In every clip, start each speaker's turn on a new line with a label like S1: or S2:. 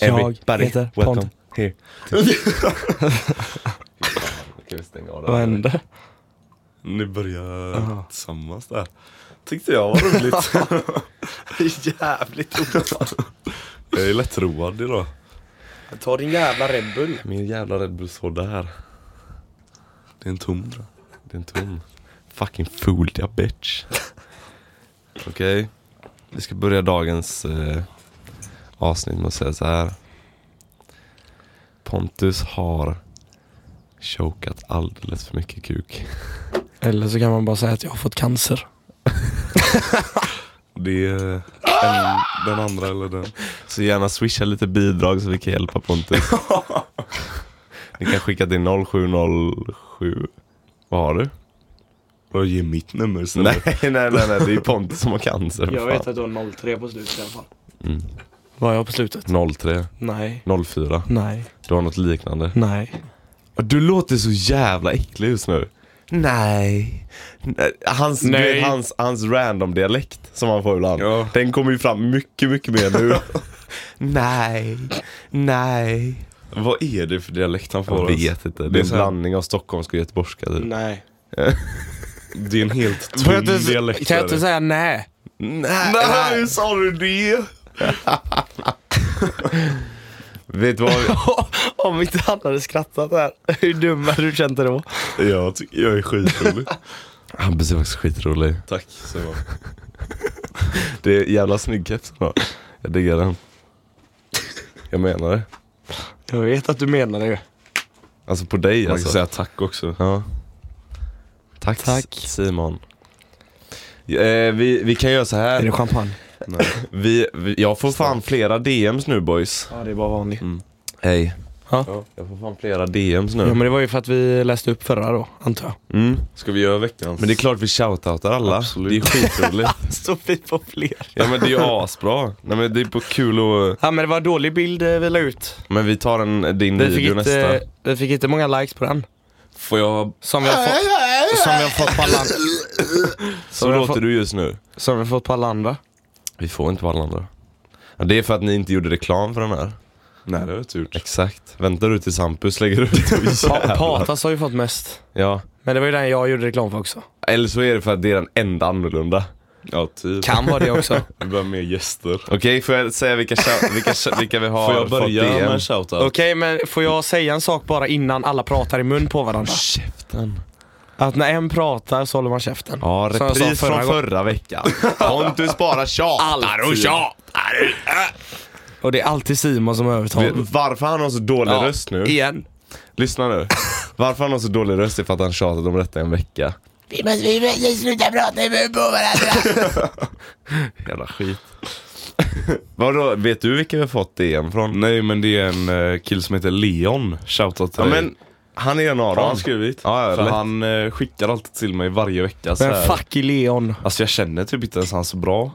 S1: Everybody,
S2: heter
S1: welcome
S2: Pond.
S1: here. Kan vi stänga av det
S2: Vad
S1: här?
S2: hände?
S3: Ni börjar tillsammans Eh, där. Tyckte jag var roligt.
S4: Jävligt ont.
S3: jag är lättroad idag.
S4: Ta din jävla Red Bull.
S3: Min jävla Red Bull står där. Det är en tom tror jag. Det är en tom. Fucking fooled ya bitch. Okej. Vi ska börja dagens eh, avsnitt med att säga så här. Pontus har chokat alldeles för mycket kuk.
S2: Eller så kan man bara säga att jag har fått cancer.
S3: Det är en, den andra eller den. Så gärna swisha lite bidrag så vi kan hjälpa Pontus. Ni kan skicka till 0707. Vad har du?
S1: Och ge mitt nummer så
S3: Nej, nej, nej, nej, det är Pontus som har cancer.
S4: Jag
S3: fan.
S4: vet att du har 03 på slutet i alla fall.
S2: Var jag på slutet?
S3: 03,
S2: Nej.
S3: 04.
S2: Nej.
S3: Du har något liknande.
S2: Nej.
S3: Du låter så jävla äcklig just nu. Nej. Nej. Hans, du
S2: Nej.
S3: vet, hans, hans random dialekt som han får ibland.
S1: Ja.
S3: Den kommer ju fram mycket, mycket mer nu. nej. Nej.
S1: Vad är det för dialekt han
S3: Jag
S1: får? ens?
S3: vet inte. Det är en
S1: så här-
S3: blandning av stockholmska och göteborgska typ.
S4: Nej.
S1: Det är en helt tom dialekt.
S2: kan jag
S1: är
S2: inte
S1: det.
S2: säga nej?
S3: Nej.
S1: Nej, hur sa du det?
S3: Vet du vad?
S2: Om inte han hade skrattat där, hur dum hade du känt dig då?
S1: Jag tycker jag är skitrolig.
S3: Hampus är faktiskt skitrolig.
S1: Tack Simon.
S3: Det är jävla snygg keps han har. Jag diggar den. Jag menar det.
S2: Jag vet att du menar det.
S3: Alltså på dig
S1: Man
S3: alltså.
S1: kan säga tack också.
S3: Ja. Tack,
S2: Tack.
S3: S- Simon. Eh, vi, vi kan göra så
S2: Är det
S3: här.
S2: champagne?
S3: Vi, vi, jag får fan flera DMs nu boys.
S2: Ja, det är bara vanligt.
S3: Hej.
S2: Ja.
S3: Jag får fan flera DMs
S2: Ja,
S3: nu.
S2: men det var ju för att vi läste upp förra då, antar jag.
S3: Mm.
S1: Ska vi göra veckans?
S3: Men det är klart vi shoutoutar alla.
S1: Absolut.
S3: Det är skitroligt.
S2: Så vi får fler.
S3: ja men det är ju asbra. Nej men det är på kul och
S2: Ja, men det var en dålig bild eh, vi la ut.
S3: Men vi tar en, din
S2: Vi fick, eh,
S3: video nästa.
S2: inte, vi fick inte många likes på den.
S1: Får jag...
S2: Som vi har fått, som vi har fått på alla andra.
S3: Så
S2: vi har
S3: låter
S2: fått-
S3: du just nu.
S2: Som vi har fått på alla andra.
S3: Vi får inte på alla andra. Ja, det är för att ni inte gjorde reklam för den här.
S1: Nej det har jag inte gjort.
S3: Exakt. Väntar du tills Hampus lägger ut? Oj,
S2: Pa-
S3: jävlar.
S2: Patas har ju fått mest.
S3: ja.
S2: Men det var ju den jag gjorde reklam för också.
S3: Eller så är det för att det är den enda annorlunda.
S1: Ja, typ.
S2: Kan vara det också.
S1: Vi behöver mer gäster.
S3: Okej, får jag säga vilka, shout- vilka, sh- vilka vi har
S1: Får jag börja
S3: fått
S1: med
S3: DM?
S1: en shoutout?
S2: Okej, men får jag säga en sak bara innan alla pratar i mun på varandra?
S3: Käften.
S2: Att när en pratar så håller man käften.
S3: Ja,
S2: Som jag sa
S3: repris
S2: förra
S3: från
S2: gången.
S3: förra veckan. Pontus bara tjatar och
S1: Alltid.
S3: tjatar.
S2: Och det är alltid Simon som
S3: Vet-
S2: övertalar.
S3: Varför han har så dålig
S2: Ja, E-
S3: röst nu?
S2: Igen.
S3: Lyssna nu. Varför han har så dålig röst är för att han tjatat om detta i en vecka.
S5: Vi måste, vi måste sluta prata i mun på varandra.
S3: Jävla skit. Vadå, vet du vilka vi har fått DM från?
S1: Nej men det är en eh, kille som heter Leon. Shoutout till
S3: Ja,
S1: dig.
S3: men han är en av
S1: Har
S3: dem.
S1: han skrivit?
S3: Ja, ja,
S1: För
S3: lätt.
S1: han eh, skickar alltid till mig varje vecka så
S2: Men
S1: här.
S2: fuck i Leon.
S1: Alltså jag känner typ inte ens han så bra.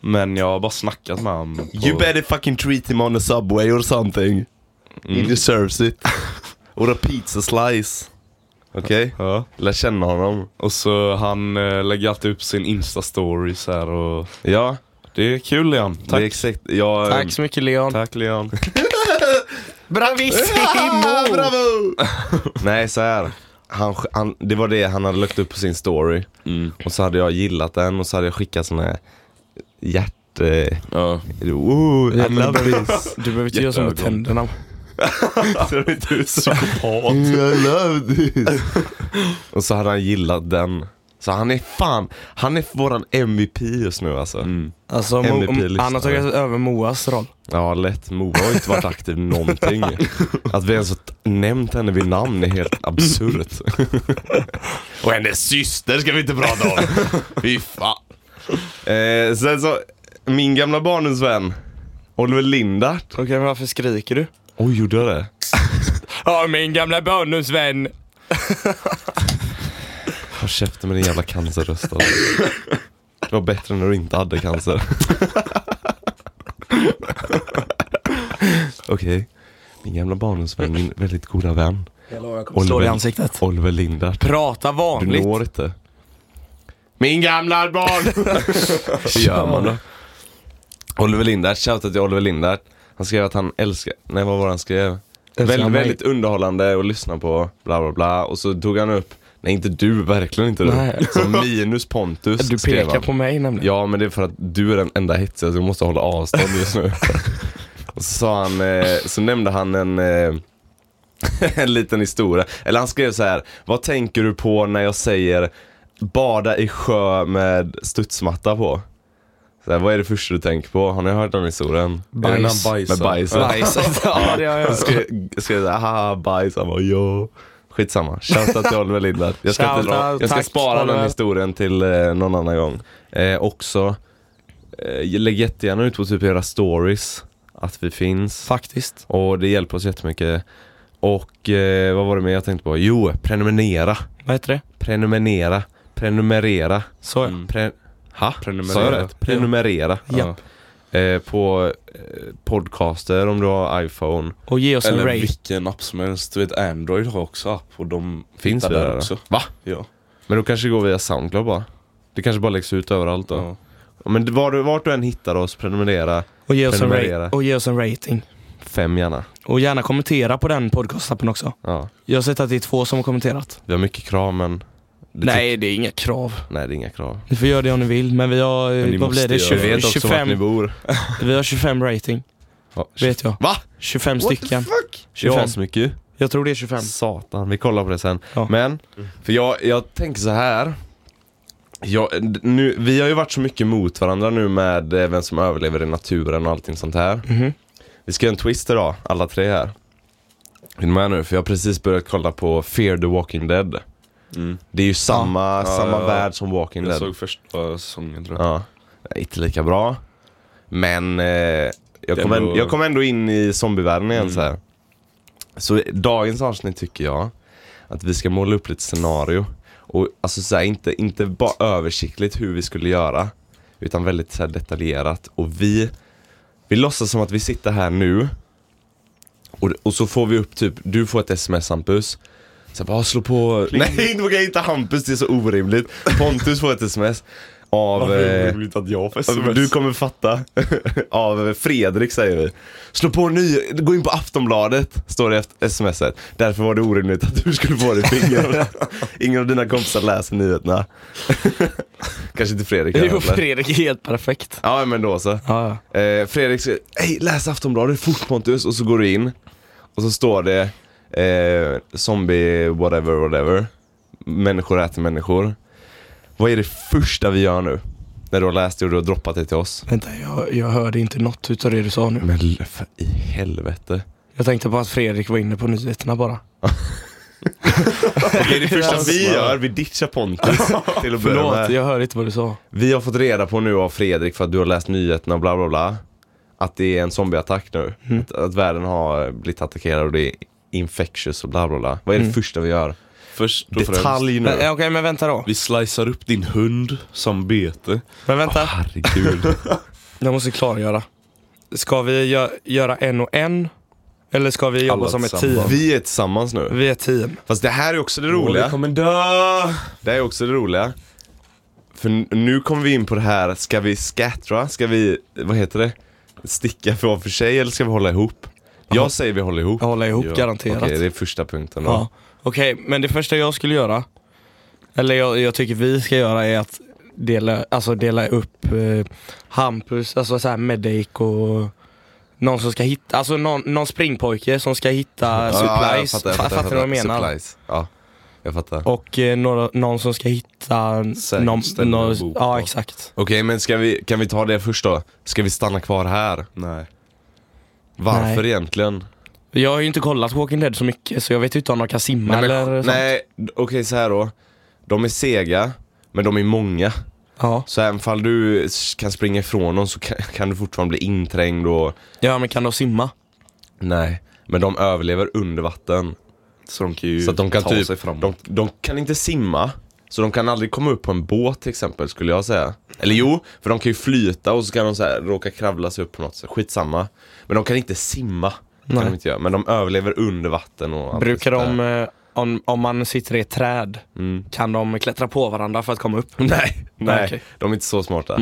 S1: Men jag har bara snackat med honom. På...
S3: You better fucking treat him on a subway or something.
S1: Mm.
S3: He deserves it. Or a pizza slice. Okej?
S1: Ja.
S3: Lär känna honom.
S1: Och så han eh, lägger alltid upp sin instastory så här och
S3: Ja,
S1: det är kul Leon.
S3: Tack.
S1: Tack.
S3: det är exakt. eh, Jag,
S2: Tack så mycket Leon.
S1: Tack Leon.
S2: Bravissimo!
S3: bravo! Nej, så här. Han, han, det var det han hade lagt upp på sin story.
S1: Mm.
S3: Och så hade jag gillat den och så hade jag skickat såna här hjärt... Eh,
S1: Ja.
S3: oh, I love this.
S2: Du behöver inte göra så med
S1: Jätteögon.
S2: tänderna.
S1: Ser inte ut psykopat?
S3: I love this. och så hade han gillat den. Så han är fan, han är våran MVP just nu alltså.
S1: Mm.
S2: Alltså, Mo-
S3: MVP-lyssnare.
S2: han har tagit över Moas roll.
S3: Ja, lätt. Moa har ju inte varit aktiv någonting. Att vi ens har t- nämnt henne vid namn är helt absurt. Och hennes syster ska vi inte prata om. Fy fan. Eh, sen så, min gamla barndomsvän, Oliver Lindart.
S2: Okej, men varför skriker du?
S3: Oj, gjorde jag det?
S2: Ja, min gamla bonusvän!
S3: Håll käften med din jävla cancerröst alltså. Det var bättre när du inte hade cancer. Okej. Min gamla barndomsvän, min väldigt goda vän.
S2: Jag kommer
S3: Oliver-
S2: slå dig i ansiktet.
S3: Oliver Lindart.
S2: Prata
S3: Du
S2: vanligt.
S3: når inte. Min gamla barn! Hur gör man då? Oliver Lindart, shoutout till Oliver Lindart. Han skrev att han älskar, nej vad var det han skrev?
S2: Älskar
S3: Väldigt,
S2: han mig?
S3: väldigt underhållande att lyssna på, bla bla bla. Och så tog han upp, nej inte du, verkligen inte du.
S2: Nej.
S3: Så minus Pontus
S2: Du
S3: skrev
S2: pekar
S3: han.
S2: på mig nämligen.
S3: Ja, men det är för att du är den enda hetsiga så jag måste hålla avstånd just nu. Och så, sa han, eh, så nämnde han en, eh, en liten historia. Eller han skrev så här. Vad tänker du på när jag säger bada i sjö med studsmatta på? Så här, vad är det första du tänker på? Har ni hört den historien?
S2: Bajs.
S3: Innan Med bajset.
S2: Bajset. Ja, det har jag
S3: Han
S2: hört.
S3: skrev, skrev såhär, haha bajs. Han bara, jo. Skitsamma, shoutout till Oliver Lindberg. Jag ska, inte,
S2: Shoutout,
S3: jag ska
S2: tack,
S3: spara den
S2: Oliver.
S3: historien till eh, någon annan gång. Eh, också, eh, lägg jättegärna ut på typ era stories att vi finns.
S2: Faktiskt.
S3: Och det hjälper oss jättemycket. Och eh, vad var det mer jag tänkte på? Jo, prenumerera.
S2: Vad heter det?
S3: Prenumerera. Prenumerera.
S2: Så ja.
S3: Mm. Pre- ha?
S1: Prenumerera.
S3: Sa jag rätt? Prenumerera.
S2: Japp.
S3: Eh, på eh, podcaster om du har iPhone.
S2: Och ge oss en
S1: Eller
S2: rate.
S1: vilken app som helst. Du vet Android har också app och de
S3: Finns
S1: hittar
S3: vi
S1: där
S3: där
S1: också.
S3: Va?
S1: Ja.
S3: Men då kanske det går via Soundcloud bara. Det kanske bara läggs ut överallt då.
S1: Ja.
S3: Men var du, vart du än hittar oss, prenumerera
S2: Och ge, oss en
S3: prenumerera.
S2: rate. och ge oss en rating.
S3: fem gärna.
S2: Och gärna kommentera på den podcastappen också.
S3: Ja.
S2: Jag har sett att det är två som har kommenterat.
S3: Vi har mycket krav men... det
S2: Nej, det är inga krav.
S3: tyck- Nej, det är inga krav.
S2: Ni får göra det om ni vill, men vi har, eh,
S1: ni
S2: vad blir
S1: måste
S2: det?
S1: göra
S3: Vi vet
S2: 20,
S3: också vart ni
S2: 25,
S3: bor.
S2: vi har 25 rating,
S3: Ja,
S2: vet jag.
S3: Va?
S2: 25 stycken.
S3: fuck?
S2: 25.
S3: 25. mycket.
S2: Jag tror det är 25.
S3: Satan, vi kollar på det sen.
S2: Ja.
S3: Men, för jag, jag tänker så här. Jag, nu, vi har ju varit så mycket mot varandra nu med eh, vem som överlever i naturen och allting sånt här.
S2: Mhm.
S3: Vi ska göra en twist idag, alla tre här. Är ni med nu? För jag har precis börjat kolla på Fear the Walking Dead.
S1: Mm.
S3: Det är ju samma,
S1: Ja,
S3: samma
S1: ja.
S3: värld som Walking
S1: Jag
S3: Dead.
S1: såg första säsongen tror jag.
S3: Ja. Nej, Inte lika bra. Men eh, jag,
S1: Det
S3: kom ändå...
S1: ändå-
S3: jag kom ändå in i zombievärlden igen
S1: Mm.
S3: så här. Så dagens avsnitt tycker jag att vi ska måla upp lite scenario. Och alltså så här, inte, inte bara översiktligt hur vi skulle göra. Utan väldigt så här, detaljerat. Och vi, vi låtsas som att vi sitter här nu. Och, och så får vi upp typ, du får ett sms Hampus. Så här, bara "Ah, slå på... Nej, inte vågar inte Hampus, det är så orimligt. Pontus får ett sms. Av... eh,
S1: roligt att jag får
S3: du kommer fatta. Av Fredrik säger vi. Slå på ny, gå in på Aftonbladet, står det efter smset. Därför var det orimligt att du skulle få det i fingrarna. Ingen av dina kompisar läser nyheterna. Kanske inte Fredrik.
S2: Jo,
S3: heller.
S2: Fredrik är helt perfekt.
S3: Ja men då så.
S2: Ja, ja.
S3: Eh, Fredrik säger hej läs Aftonbladet fort Pontus och så går du in och så står det eh, zombie whatever whatever. Människor äter människor. Vad är det första vi gör nu? När du har läst det och du har droppat det till oss.
S2: Vänta, jag, jag hörde inte något utav det du sa nu.
S3: Men l- för i helvete.
S2: Jag tänkte på att Fredrik var inne på nyheterna bara.
S3: Det är det första vi gör, vi ditchar Pontus till att börja
S2: Förlåt,
S3: med.
S2: jag hörde inte vad du sa.
S3: Vi har fått reda på nu av Fredrik för att du har läst nyheterna och bla bla bla. Att det är en zombieattack nu.
S2: Mm.
S3: Att, att världen har blivit attackerad och det är infectious och bla bla bla. Vad är det
S2: Mm.
S3: första vi gör?
S1: Först och främst.
S3: Detalj
S2: Men, eh,
S3: nu.
S2: Okej, men vänta då.
S1: Vi slicear upp din hund som bete.
S2: Men
S3: Ah.
S2: vänta.
S3: Herregud.
S2: Jag måste klargöra. Ska vi gö- göra en och en? Eller ska vi jobba
S1: Alla
S2: som ett team?
S1: tillsammans.
S3: Vi är tillsammans nu.
S2: Vi är ett team.
S3: Fast det här är också det
S1: Vi
S3: roliga.
S1: kommer dö!
S3: Det här är också det roliga. För n- nu kommer vi in på det här, ska vi scattra? Ska vi, vad heter det? Sticka för var för sig eller ska vi hålla ihop? Jag säger vi håller ihop.
S2: Jag håller ihop
S1: Ja,
S2: garanterat.
S3: Okej, det är första punkten då.
S2: Ja. Okej, men det första jag skulle göra, eller jag, jag tycker vi ska göra är att dela, alltså dela upp eh, Hampus, alltså så här Medic och någon som ska hitta, alltså någon, någon springpojke som ska hitta supplies.
S3: jag fattar, jag
S2: Fa-
S3: fattar, jag
S2: fattar du vad jag menar?
S3: Supplies. Ja, jag fattar. Okej,
S2: Och eh, några, någon som ska hitta någon,
S1: ställe att
S2: någon,
S1: bo
S2: ja
S1: på.
S2: exakt.
S3: men ska vi, kan vi ta det först då? Ska vi stanna kvar här?
S1: Nej.
S3: Varför
S2: Nej.
S3: egentligen?
S2: Jag har ju inte kollat Walking Dead så mycket så jag vet ju inte om de kan simma
S3: Nej, men-
S2: eller sånt.
S3: Nej, okej så här då. De är sega, men de är många.
S2: Ja.
S3: Så även fall du s- kan springa ifrån dem så kan, kan du fortfarande bli inträngd och...
S2: ja, men kan de simma?
S3: Nej. Men de överlever under vatten.
S1: Så de kan ju
S3: Så att de kan
S1: ta
S3: typ...
S1: sig framåt.
S3: De, de kan inte simma. Så de kan aldrig komma upp på en båt till exempel skulle jag säga. Eller jo, för de kan ju flyta och så kan de så här, råka kravla sig upp på något sätt. Skitsamma. Men de kan inte simma. Kan
S2: Nej.
S3: de inte göra. Men de överlever under vatten och allt
S2: Brukar
S3: sånt
S2: de,
S3: där.
S2: eh, om, om man sitter i ett träd, kan de klättra på varandra för att komma upp?
S3: Mm. Nej, nej.
S2: okej.
S3: De är inte så smarta.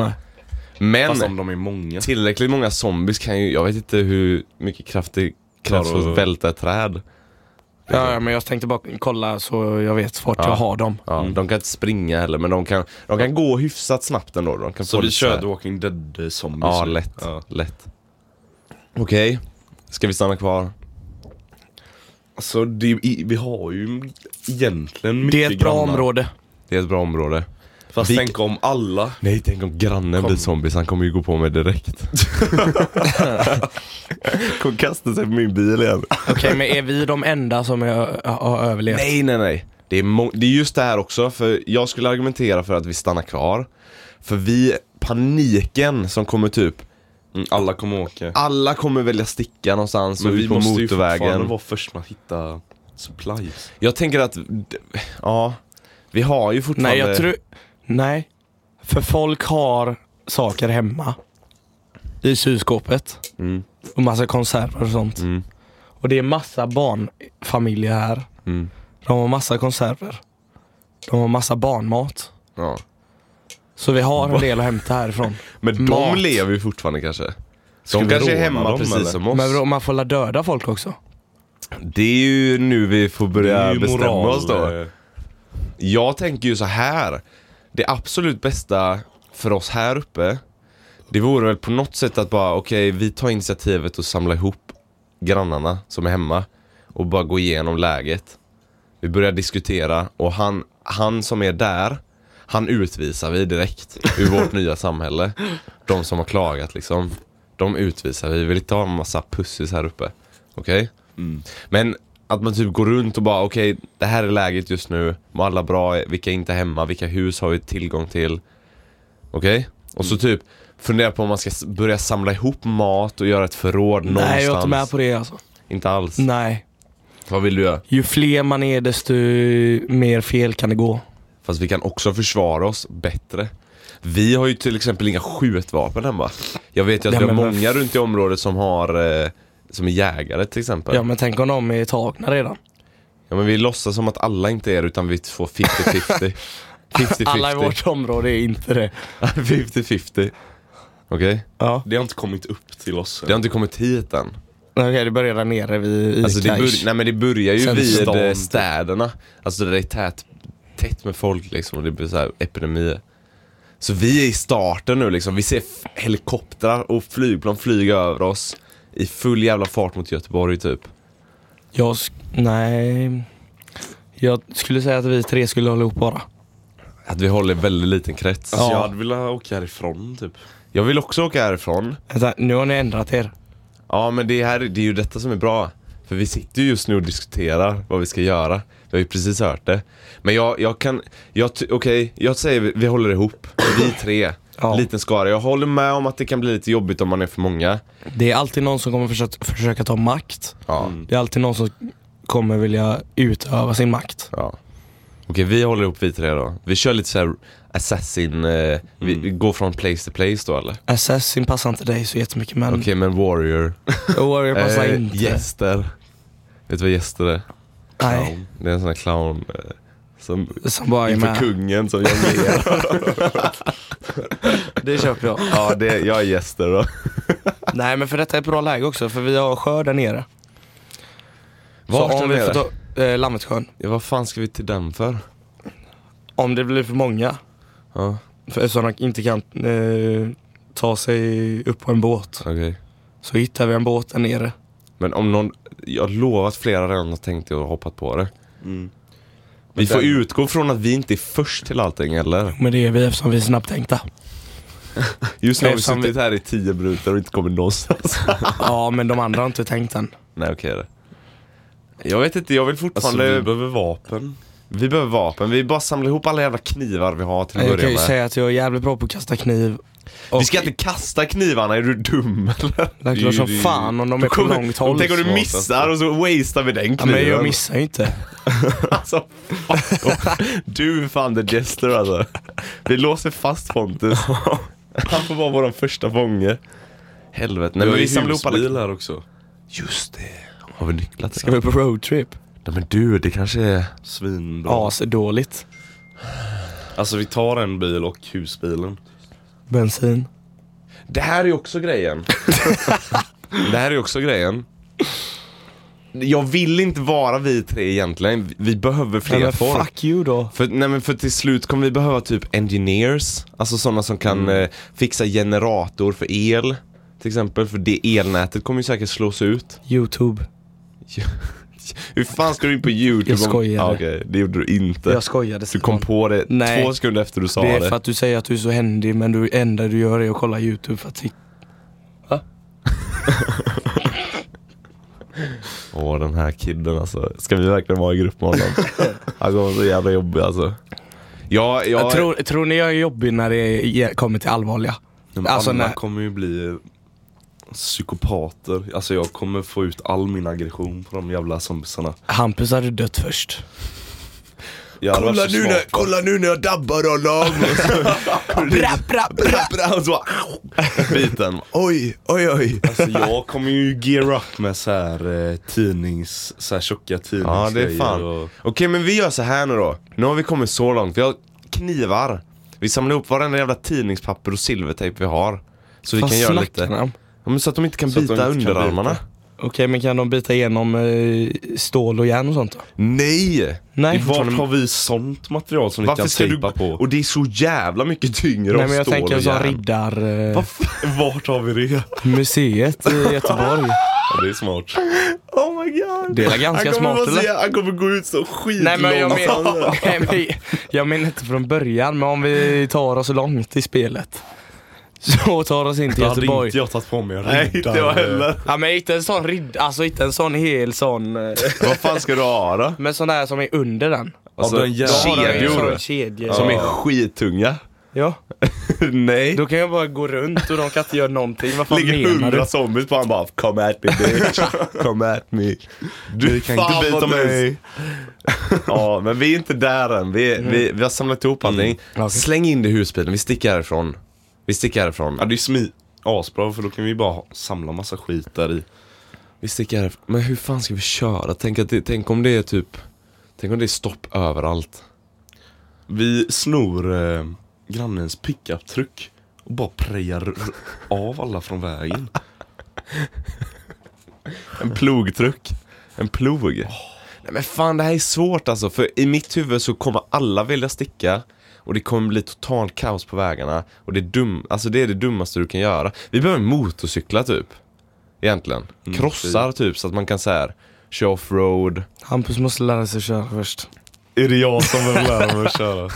S2: Nej.
S1: Fast om
S3: Men
S1: de är många.
S3: tillräckligt många zombies kan ju, jag vet inte hur mycket kraft det krävs
S1: Klarar
S3: för
S1: att-
S3: att välta ett träd.
S2: Ja, ja, men jag tänkte bara kolla så jag vet vart
S3: Ja.
S2: jag har dem.
S3: Ja,
S1: Mm.
S3: De kan inte springa heller men de kan, de kan gå hyfsat snabbt ändå. De kan
S1: Så
S3: få
S1: vi
S3: lite
S1: kör
S3: här-
S1: The Walking Dead eh, zombies.
S3: Ja,
S1: nu.
S3: lätt.
S1: Ja.
S3: lätt. Okej, ska vi stanna kvar?
S1: Alltså det, är- i- vi har ju egentligen mycket
S2: Det är ett bra
S1: grannar.
S2: område.
S3: Det är ett bra område.
S1: Fast
S3: Vi-
S1: tänk om alla.
S3: Nej, tänk om grannen blir zombies. Han kommer ju gå på mig direkt. kommer kasta sig på min bil igen.
S2: Okej, men är vi de enda som är, har överlevt?
S3: Nej, nej, nej. Det är, må- det är just det här också, för jag skulle argumentera för att vi stannar kvar. För vi, paniken som kommer typ,
S1: Mm, alla kommer åka.
S3: alla kommer välja sticka någonstans
S1: Men
S3: och
S1: vi
S3: ut på
S1: måste ju fortfarande
S3: motorvägen.
S1: vara först med att hitta supplies.
S3: Jag tänker att, ja, vi har ju fortfarande...
S2: Nej, jag tror... Nej. För folk har saker hemma. I kylskåpet.
S3: Mm.
S2: Och massa konserver och sånt.
S3: Mm.
S2: Och det är massa barnfamiljer här.
S3: Mm.
S2: De har massa konserver. De har massa barnmat.
S3: Ja.
S2: Så vi har en del att hämta härifrån.
S3: Men
S2: Mat.
S3: de lever ju fortfarande kanske.
S1: vi
S3: De kanske är
S1: råna
S3: hemma
S1: dem,
S3: precis
S1: eller?
S3: som oss.
S2: Men vadå, man får la döda folk också?
S3: Det är ju nu vi får börja bestämma oss då.
S1: eh,
S3: Jag tänker ju så här. Det absolut bästa för oss här uppe, det vore väl på något sätt att bara okej, vi tar initiativet och samlar ihop grannarna som är hemma och bara gå igenom läget. Vi börjar diskutera och han, han som är där, han utvisar vi direkt ur vårt nya samhälle. De som har klagat liksom, de utvisar vi. Vi vill inte ha en massa pussis här uppe. Okej?
S1: Mm.
S3: Men att man typ går runt och bara okej, det här är läget just nu. Mår alla bra? Vilka är inte hemma? Vilka hus har vi tillgång till? Okej? Och
S2: Mm.
S3: så typ fundera på om man ska s- börja samla ihop mat och göra ett förråd någonstans.
S2: Nej, jag är inte med på det alltså.
S3: Inte alls.
S2: Nej.
S3: Vad vill du göra?
S2: Ju fler man är desto mer fel kan det gå.
S3: Fast vi kan också försvara oss bättre. Vi har ju till exempel inga skjutvapen hemma. Jag vet ju att
S2: Ja,
S3: vi har
S2: men vad
S3: många runt i området som har eh, som är jägare till exempel.
S2: Ja men tänk om de är tagna redan.
S3: Ja, men vi låtsas som att alla inte är det, utan vi får 50-50. 50-50.
S2: Alla i vårt område är inte det.
S3: 50-50. Okej?
S2: Ja.
S1: Det har inte kommit upp till oss än.
S3: Det har inte kommit hit än.
S2: Okej, det börjar där nere vid
S3: Alltså det,
S2: Ica-ish.
S3: bör, nej, men det börjar ju
S2: Sen
S3: vid
S1: stan,
S3: eh,
S1: typ.
S3: städerna. Alltså där det är tät, tätt med folk liksom och det blir så här epidemier. Så vi är i starten nu liksom. Vi ser f- helikoptrar och flygplan flyga över oss i full jävla fart mot Göteborg typ.
S2: Jag sk- nej. Jag skulle säga att vi tre skulle hålla ihop bara.
S3: Att vi håller väldigt liten krets.
S1: Alltså,
S2: Ja.
S1: Jag hade velat åka härifrån typ.
S3: Jag vill också åka härifrån.
S2: Vänta, nu har ni ändrat er.
S3: Ja men det, här, det är ju detta som är bra. För vi sitter ju just nu och diskuterar vad vi ska göra. Vi har ju precis hört det. Men jag, jag kan, jag ty- okej, jag säger vi, vi håller ihop. Vi tre.
S2: Ja.
S3: Liten skara. Jag håller med om att det kan bli lite jobbigt om man är för många.
S2: Det är alltid någon som kommer försöka, försöka ta makt.
S3: Ja.
S2: Det är alltid någon som kommer vilja utöva sin makt.
S3: ja. Okej, vi håller ihop vi tre då. Vi kör lite såhär assassin, eh, vi,
S2: Mm.
S3: vi går från place to place då eller?
S2: Assassin passar inte dig så jättemycket men
S3: Okej Eh, men warrior.
S2: Warrior passar inte.
S3: gäster. Vet du vad gäster är?
S2: Nej,
S3: Det är en sån här clown eh, som
S2: som bara är
S3: inför
S2: med.
S3: kungen som jonglerar.
S2: Det köper jag.
S3: Ja, det, jag är gäster då.
S2: Nej men för detta är ett bra läge också för vi har sjö där nere.
S3: Vart
S2: så
S3: där
S2: om vi
S3: nere?
S2: får ta eh, Lammetsjön.
S3: Ja, vad fan ska vi till den för?
S2: Om det blir för många.
S3: Ja,
S2: För eftersom de inte kan eh, ta sig upp på en båt.
S3: okej.
S2: Så hittar vi en båt där nere.
S3: Men om någon, jag lovar att flera redan har tänkt det och hoppat på det. Vi
S1: Men
S3: får
S1: den-
S3: utgå från att vi inte är först till allting eller?
S2: Men det är vi eftersom vi är snabbtänkta.
S3: Just nu har vi
S2: Eftersom vi-
S3: suttit här i tio minuter och inte kommit någonstans.
S2: ja men de andra har inte tänkt än.
S3: Nej okej okay. Jag vet inte, jag vill
S1: Alltså
S3: fortfarande...
S1: vi
S3: vi...
S1: behöver vapen.
S3: behöver vapen, vi bara samlar ihop alla jävla knivar vi har till att
S2: Jag kan
S3: börja
S2: ju
S3: med.
S2: säga att jag är jävligt bra på att kasta kniv. Och
S3: Vi ska inte kasta knivarna, är du dum eller?
S2: det är klart som fan om de är på långt håll. alltså.
S3: Tänk om du missar och så wastar vi den
S2: Ja,
S3: kniven.
S2: men jag missar ju inte.
S3: Alltså, du är fan the jester alltså. Vi låser fast Pontus. Han får vara vår första fånge. Helvete. Nej, men
S1: vi har ju
S3: vi samlar ihop
S1: husbil
S3: alla...
S1: här också.
S3: Just det. Har vi nycklar till
S2: Ska vi på roadtrip?
S3: Nej men du, det kanske är...
S1: Svinbra.
S2: Asdåligt.
S1: Alltså vi tar en bil och husbilen.
S2: Bensin.
S3: Det här är också grejen. det här är också grejen. Jag vill inte vara vi tre egentligen. Vi behöver fler
S2: Men
S3: folk.
S2: fuck you då.
S3: För, nej men för till slut kommer vi behöva typ engineers, alltså sådana som kan eh, fixa generator för el till exempel, för det elnätet kommer ju säkert slås ut.
S2: Youtube.
S3: Hur fan ska du in på youtube?
S2: Jag
S3: om-
S2: skojade.
S3: Ja, Okej, det gjorde du inte.
S2: Jag skojade.
S3: du kom på det
S2: Nej.
S3: två sekunder efter du sa
S2: Det
S3: det.
S2: är för att du säger att du är så händig men du enda du gör är att kolla youtube för att se.
S3: Åh den här killen alltså, ska vi verkligen vara i grupp med honom? Han kommer vara så jävla jobbig alltså. Ja, jag,
S2: Jag tror, tror ni jag är jobbig när det är- kommer till allvarliga?
S3: De
S2: Alltså,
S3: andra
S2: när-
S3: kommer ju bli psykopater. Alltså jag kommer få ut all min aggression på de jävla zombisarna.
S2: Hampus hade dött först.
S3: Jag hade varit så smart.
S1: kolla nu när jag dabbar honom!
S2: Bra, bra, bra.
S3: Och så bara, biten.
S1: Oj, oj, oj.
S3: Alltså jag
S1: kommer ju gear up med så här eh, tidnings, så här tjocka tidningsgrejer.
S3: Ja det är fan.
S1: och-
S3: Okej men vi gör så här nu då. Nu har vi kommit så långt. Vi har knivar. Vi samlar ihop varenda jävla tidningspapper och silvertejp vi har. Så vi
S2: Vad
S3: kan göra
S2: snackar
S3: lite.
S2: ni om?
S3: Ja, men så att de inte kan
S1: Så att de
S3: bita
S1: inte kan
S3: underarmarna.
S1: bita.
S2: Okej men kan de bita igenom eh, stål och järn och sånt då?
S3: Nej!
S2: Nej.
S1: Vart har vi sånt material som vi
S3: Varför
S1: kan
S3: ska du...
S1: tejpa på?
S3: Och det är så jävla mycket tyngre
S2: Nej
S3: av
S2: men jag
S3: stål
S2: tänker
S3: och
S2: som
S3: järn.
S2: riddarmuseet
S1: Vart har vi det?
S2: eh, i Göteborg.
S1: Ja, det är smart.
S3: Oh my god!
S2: Det är väl ganska
S3: han kommer
S2: smart
S3: vara så
S2: eller?
S3: jä- Han kommer gå ut så skitlångt.
S2: Nej men jag
S1: Alltså,
S2: menar, nej, men jag menar inte från början men om vi tar oss långt i spelet. Så tar oss in till
S1: Då hade
S2: Göteborg.
S1: inte jag eh, tagit på mig en
S3: Nej inte
S1: riddare.
S3: jag heller.
S2: Ja men inte en sån ridd, alltså inte en sån hel sån. eh,
S3: Vad fan ska du ha då?
S2: Men sån där som är under den.
S3: Alltså,
S1: den jävla-
S3: kedjor.
S2: Sån kedjor.
S3: Som är skittunga.
S2: Ja.
S3: Nej.
S2: Då kan jag bara gå runt och de kan inte göra någonting. Vad fan
S3: ligger
S2: menar
S3: hundra
S2: du?
S3: zombies på han bara Come at me bitch, come at me Du kan
S1: inte bita mig.
S3: Ja men vi är inte där än, vi, vi, vi har samlat ihop allting Släng in det i husbilen, vi sticker härifrån Vi sticker härifrån
S1: Ja, det är smi asbra för då kan vi bara ha- samla massa skit där i.
S3: Vi sticker härifrån, men hur fan ska vi köra? Tänk, att det, tänk om det är typ Tänk om det är stopp överallt
S1: Vi snor eh, grannens pickuptruck och bara prejar r- av alla från vägen.
S3: En plogtruck En plog Nej men fan det här är svårt alltså, för i mitt huvud så kommer alla vilja sticka och det kommer bli total kaos på vägarna och det är, dum, alltså det, är det dummaste du kan göra. Vi behöver motorcyklar typ. Egentligen.
S1: Mm,
S3: Krossar typ så att man kan så här köra offroad.
S2: Hampus måste lära sig köra först.
S1: Är det jag som behöver lära mig att köra?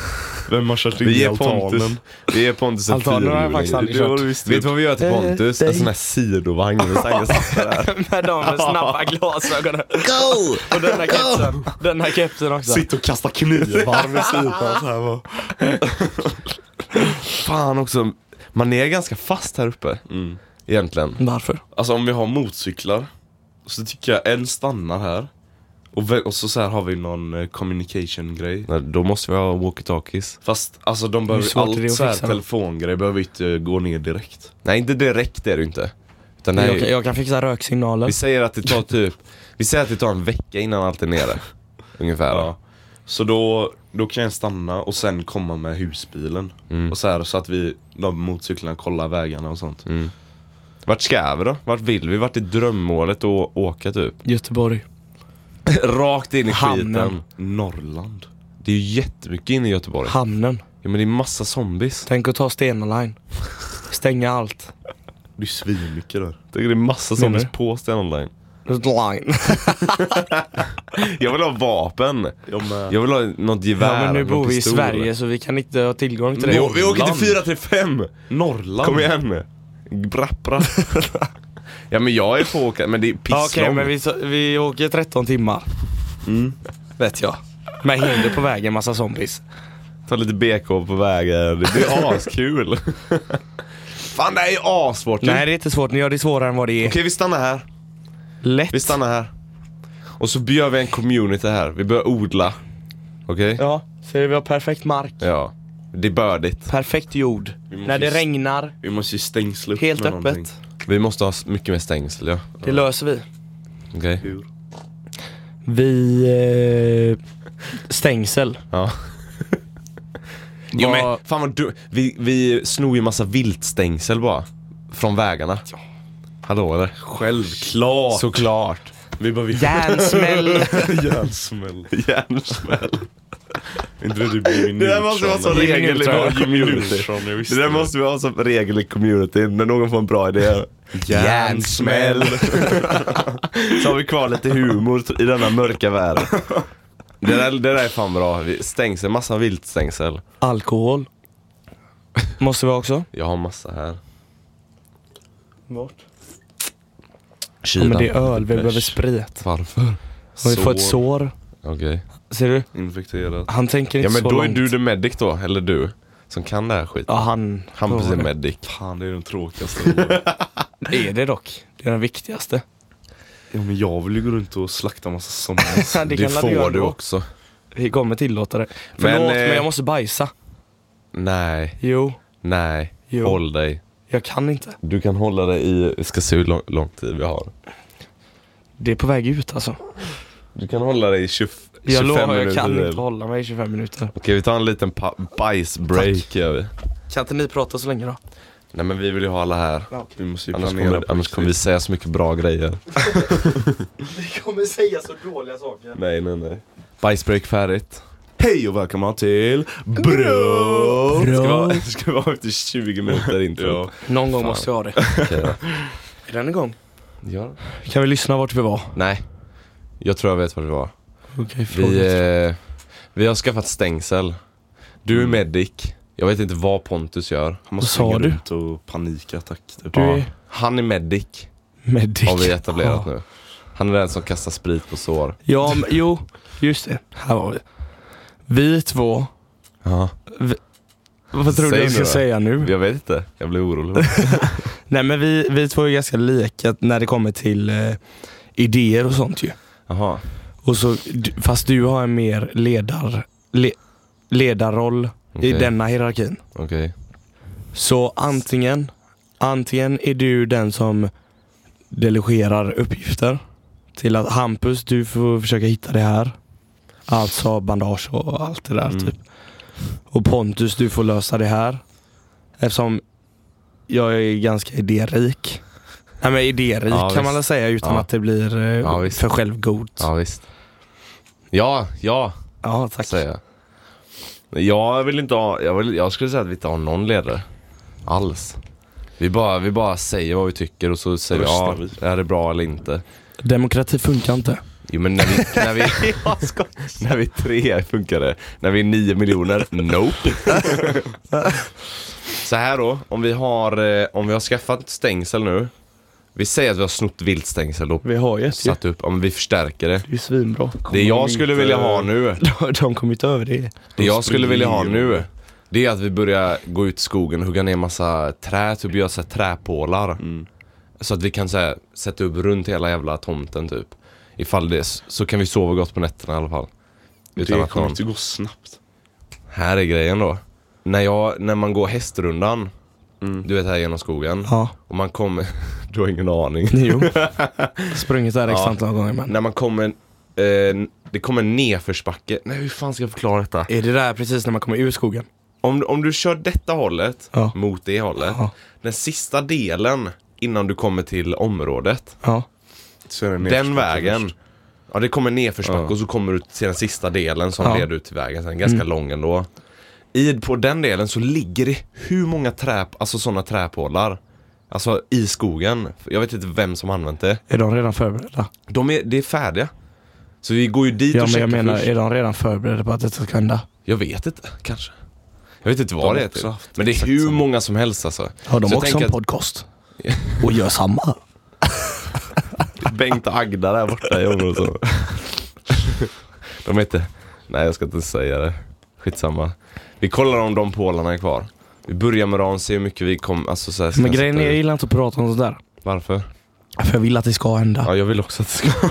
S1: Vem har kört in
S3: Vi
S1: i
S3: ger Pontus,
S1: altanen?
S3: vi ger Pontus en
S2: Altanen har jag
S3: fyrhjuling.
S2: faktiskt aldrig
S3: Det har
S2: kört. Eh,
S3: du visst Vet du vad vi gör till Pontus? En sån här sidovagn med saggasatser där.
S2: Med de med snabba glasögonen.
S5: Go!
S2: Och den här kepsen. Den här kepsen också.
S1: Sitter och kastar knivar med sidan så här va.
S3: Fan också, man är ganska fast här uppe.
S1: Mm.
S3: Egentligen.
S2: Varför?
S1: Alltså om vi har motorcyklar så tycker jag en stannar här. Och, vä- och så, så här har vi någon eh, communication grej.
S3: Nej, Då måste vi ha walkie-talkies.
S1: Fast alltså de behöver
S2: svårt är det
S1: allt
S2: att
S1: så här
S2: fixa?
S1: telefongrej behöver inte gå ner direkt.
S3: Nej inte direkt är det ju inte. Utan det här är
S2: Jag,
S3: ju-
S2: kan- jag kan fixa röksignaler.
S3: Vi säger att det tar typ, vi säger att det tar en vecka innan allt är nere. Ungefär.
S1: Ja. Så då, då kan jag stanna och sen komma med husbilen.
S3: Mm.
S1: Och så här så att vi, de motorcyklarna kollar vägarna och sånt.
S3: Vart ska vi då? Vart vill vi? Vart är drömmålet att åka typ?
S2: Göteborg.
S3: Rakt in i
S2: Hamnen.
S3: skiten.
S1: Norrland.
S3: Det är ju jättemycket inne i Göteborg.
S2: Hamnen.
S3: Ja men det är massa zombies.
S2: Tänk att ta Stena Line. Stänga allt.
S1: Det är svinmycket där.
S3: Det är massa
S2: Menar
S3: zombies
S2: du?
S3: på Stena Line.
S2: Line.
S3: Jag vill ha vapen.
S1: Jag
S3: Jag vill ha något gevär.
S2: Ja, men nu
S3: någon
S2: bor vi i
S3: pistol.
S2: Sverige så vi kan inte ha tillgång till
S3: Vi,
S2: det.
S3: å- vi åker till
S1: Norrland.
S3: 4 till 5.
S1: Norrland.
S3: Kom igen. Brapp, brapp. Ja men jag är på att åka, men det är
S2: Ja,
S3: pisslångt.
S2: Okej, men vi, så- vi åker 13 timmar.
S3: Mm.
S2: Vet jag. Med hinder på vägen, massa zombies.
S3: Ta lite BK på vägen, det blir askul. Fan det här är ju assvårt ju.
S2: Nej, det är inte svårt. Ni gör det svårare än vad det är.
S3: Okej vi stannar här,
S2: Lätt.
S3: vi stannar här. Och så gör vi en community här, vi börjar odla. Okej?
S2: Ja, ser du? Vi har perfekt mark.
S3: Ja. Det är bördigt.
S2: Perfekt jord.
S1: måste
S2: När det
S1: ju s-
S2: regnar,
S1: Vi måste ju stängsla upp
S2: helt
S1: med
S2: öppet.
S1: någonting.
S3: Vi måste ha s- mycket mer stängsel ja.
S2: Det löser vi.
S3: Okej?
S1: Hur?
S2: Vi... Eh, stängsel.
S3: Ja. Jo men fan vad du, vi, vi snor ju massa viltstängsel bara. från vägarna. Hallå eller?
S1: Självklart!
S3: Såklart.
S1: Vi behöver ju
S2: Järnsmäll.
S1: järnsmäll.
S3: Hjärnsmäll.
S1: Inte det typ Jimmy
S3: Det där måste vara
S1: Neutron?
S3: så
S1: eller-
S3: regel i vår
S1: Jimmy
S3: community.
S1: Neutron, jag visste
S3: Det där måste vi ha som regel i communityn när någon får en bra idé. Järnsmäll. Så har vi kvar lite humor i denna mörka värld. Det där, det där är fan bra. Vi- Stängsel, massa viltstängsel.
S2: Alkohol. Måste vi ha också?
S3: Jag har massa här.
S4: Vart?
S2: Ja, men det är
S3: Kylan.
S2: öl, vi behöver
S3: Bärs.
S2: sprit.
S3: Varför?
S2: Om vi får ett sår.
S3: Okej.
S2: Ser du?
S3: Infekterat.
S2: Han tänker
S3: Ja
S2: inte
S3: men
S2: så
S3: då är
S2: långt.
S3: du the medic då, eller du. Som kan det här skiten.
S2: Ja, han.
S3: Hampus är medic.
S1: Fan, det är de tråkigaste åren.
S2: Det är det dock. Det är den viktigaste.
S1: Ja, men jag vill ju gå runt och slakta massa zombies.
S2: Det,
S3: Det
S2: kan göra
S3: får du
S2: då.
S3: också.
S2: Vi kommer tillåta det.
S3: Men,
S2: Förlåt, men,
S3: eh,
S2: jag måste bajsa.
S3: Nej,
S2: Jo,
S3: nej.
S2: Jo.
S3: Håll dig.
S2: jag kan inte.
S3: Du kan hålla dig i, vi ska se hur lång, lång tid vi har.
S2: Det är på väg ut alltså.
S3: Du kan hålla dig i 20, 25
S2: Jag lovar, jag
S3: minuter.
S2: kan
S3: till.
S2: inte hålla mig i 25 minuter.
S3: Okej vi tar en liten pa- bajsbreak gör vi.
S2: Kan inte ni prata så länge då?
S3: Nej men vi vill ju ha alla här.
S1: Vi måste ju
S3: Annars
S1: Typ planera
S3: kommer,
S1: på
S3: annars kommer vi
S1: riktigt.
S3: säga så mycket bra grejer.
S4: Vi kommer säga så dåliga saker.
S3: Nej nej nej. Bajsbreak färdigt.
S1: Hej och välkomna till Bro!
S3: Ska vi ha, ska vi ha efter 20 minuter intro?
S1: Ja.
S2: Någon gång
S3: Fan.
S2: måste jag ha det.
S3: Okej då.
S2: Är den igång?
S3: ja.
S2: Kan vi lyssna vart vi var?
S3: Nej. Jag tror jag vet vad det var.
S2: Okej,
S3: Vi, eh, vi har skaffat stängsel. Du är medic. Jag vet inte vad Pontus gör.
S1: Han måste
S2: Vad sa
S1: springa
S2: du?
S1: runt och panikattack. Typ.
S2: Du
S3: Ja.
S2: är
S3: Han är medic,
S2: medic.
S3: har vi etablerat
S2: Ja.
S3: nu. Han är den som kastar sprit på sår.
S2: Ja, men, jo, just det. Här var vi. Vi två.
S3: Ja.
S2: Vad tror
S3: Säg
S2: du jag
S3: nu
S2: ska
S3: då.
S2: säga nu?
S3: Jag vet inte, jag blir orolig.
S2: Nej men vi, vi två är ganska lika när det kommer till eh, idéer och sånt ju.
S3: Jaha.
S2: Och så, du- fast du har en mer ledar, le, ledarroll
S3: Okej.
S2: i denna hierarkin.
S3: Okej.
S2: Så antingen, antingen är du den som delegerar uppgifter till att Hampus, du får försöka hitta det här. Alltså bandage och allt det
S3: Mm.
S2: där typ. Och Pontus, du får lösa det här. Eftersom jag är ganska idérik. Nej men idérik
S3: Ja,
S2: kan
S3: visst.
S2: man väl säga utan
S3: Ja.
S2: att det blir eh,
S3: Ja, visst.
S2: för självgodt.
S3: Ja visst. Ja, ja,
S2: Ja, tack.
S3: säger jag. Jag vill inte ha, jag, vill, jag skulle säga att vi inte har någon ledare. Alls. Vi bara, vi bara säger vad vi tycker och så säger vi
S1: Röstar
S3: ja,
S1: vi.
S3: det här är bra eller inte.
S2: Demokrati funkar inte.
S3: Jo men när vi, när vi, när vi är tre funkar det. När vi är nio miljoner, nope. Så här då, om vi har, eh, om vi har skaffat stängsel nu. Vi säger att vi har snott viltstängsel och
S2: Vi har ju ett ju.
S3: satt upp, ja men vi förstärker det.
S2: Det är ju svinbra.
S3: Det jag skulle
S1: inte-
S3: vilja ha nu,
S2: De kommer inte över det.
S3: det jag skulle
S1: springer
S3: vilja ha nu.
S1: igenom.
S3: Det är att vi börjar gå ut i skogen och hugga ner massa träd, typ göra så här träpålar.
S2: Mm.
S3: Så att vi kan så här, sätta upp runt hela jävla tomten typ. Ifall det, är- så kan vi sova gott på nätterna i alla fall. Utan
S1: Det
S3: att någon...
S1: kommer inte gå snabbt.
S3: Här är grejen då. När, jag, när man går hästrundan, du vet här genom skogen.
S2: Mm. Ja.
S3: Och man kommer, du har ingen aning.
S2: Jo. Sprungit där extra antal gånger men.
S3: När man kommer, eh, det kommer en nedförsbacke. Nej hur fan ska jag förklara detta?
S2: Är det där precis när man kommer ur skogen?
S3: Om, om du kör detta hållet
S2: Ja.
S3: mot det hållet.
S2: Ja.
S3: Den sista delen innan du kommer till området.
S2: Ja.
S1: Så är det
S3: Den
S1: nedförsbacke
S3: vägen.
S1: först.
S3: Ja det kommer nedförsbacke
S1: Ja.
S3: och så kommer du till den sista delen som
S2: Ja. Mm.
S3: leder ut till vägen sen. Ganska lång ändå. I, på den delen så ligger det hur många trä, alltså sådana träpålar. Alltså i skogen. Jag vet inte vem som har använt det.
S2: Är de redan förberedda?
S3: De är, det är färdiga. Så vi går ju dit
S2: Ja
S3: och
S2: men
S3: checkar
S2: jag menar,
S3: först.
S2: är de redan förberedda på att detta ska hända?
S3: Jag vet inte, kanske. Jag vet inte vad
S1: har
S3: det är
S1: också
S3: typ.
S1: haft
S3: Men det är
S1: exakt
S3: hur
S1: samma.
S3: många som helst alltså.
S2: Har de
S3: Så jag
S2: också en
S3: tänker att-
S2: podcast? Och gör samma?
S3: Bengt och Agda där borta i området. De heter... Nej jag ska inte säga det. Skitsamma. Vi kollar om de pålarna är kvar. Vi börjar med dem, ser hur mycket vi kommer... Alltså, så här, ska
S2: Men grejen är, Ah.
S3: sätta
S2: jag
S3: ut.
S2: gillar inte att prata om sådär.
S3: Varför?
S2: För jag vill att det ska hända.
S3: Ja jag vill också att det ska...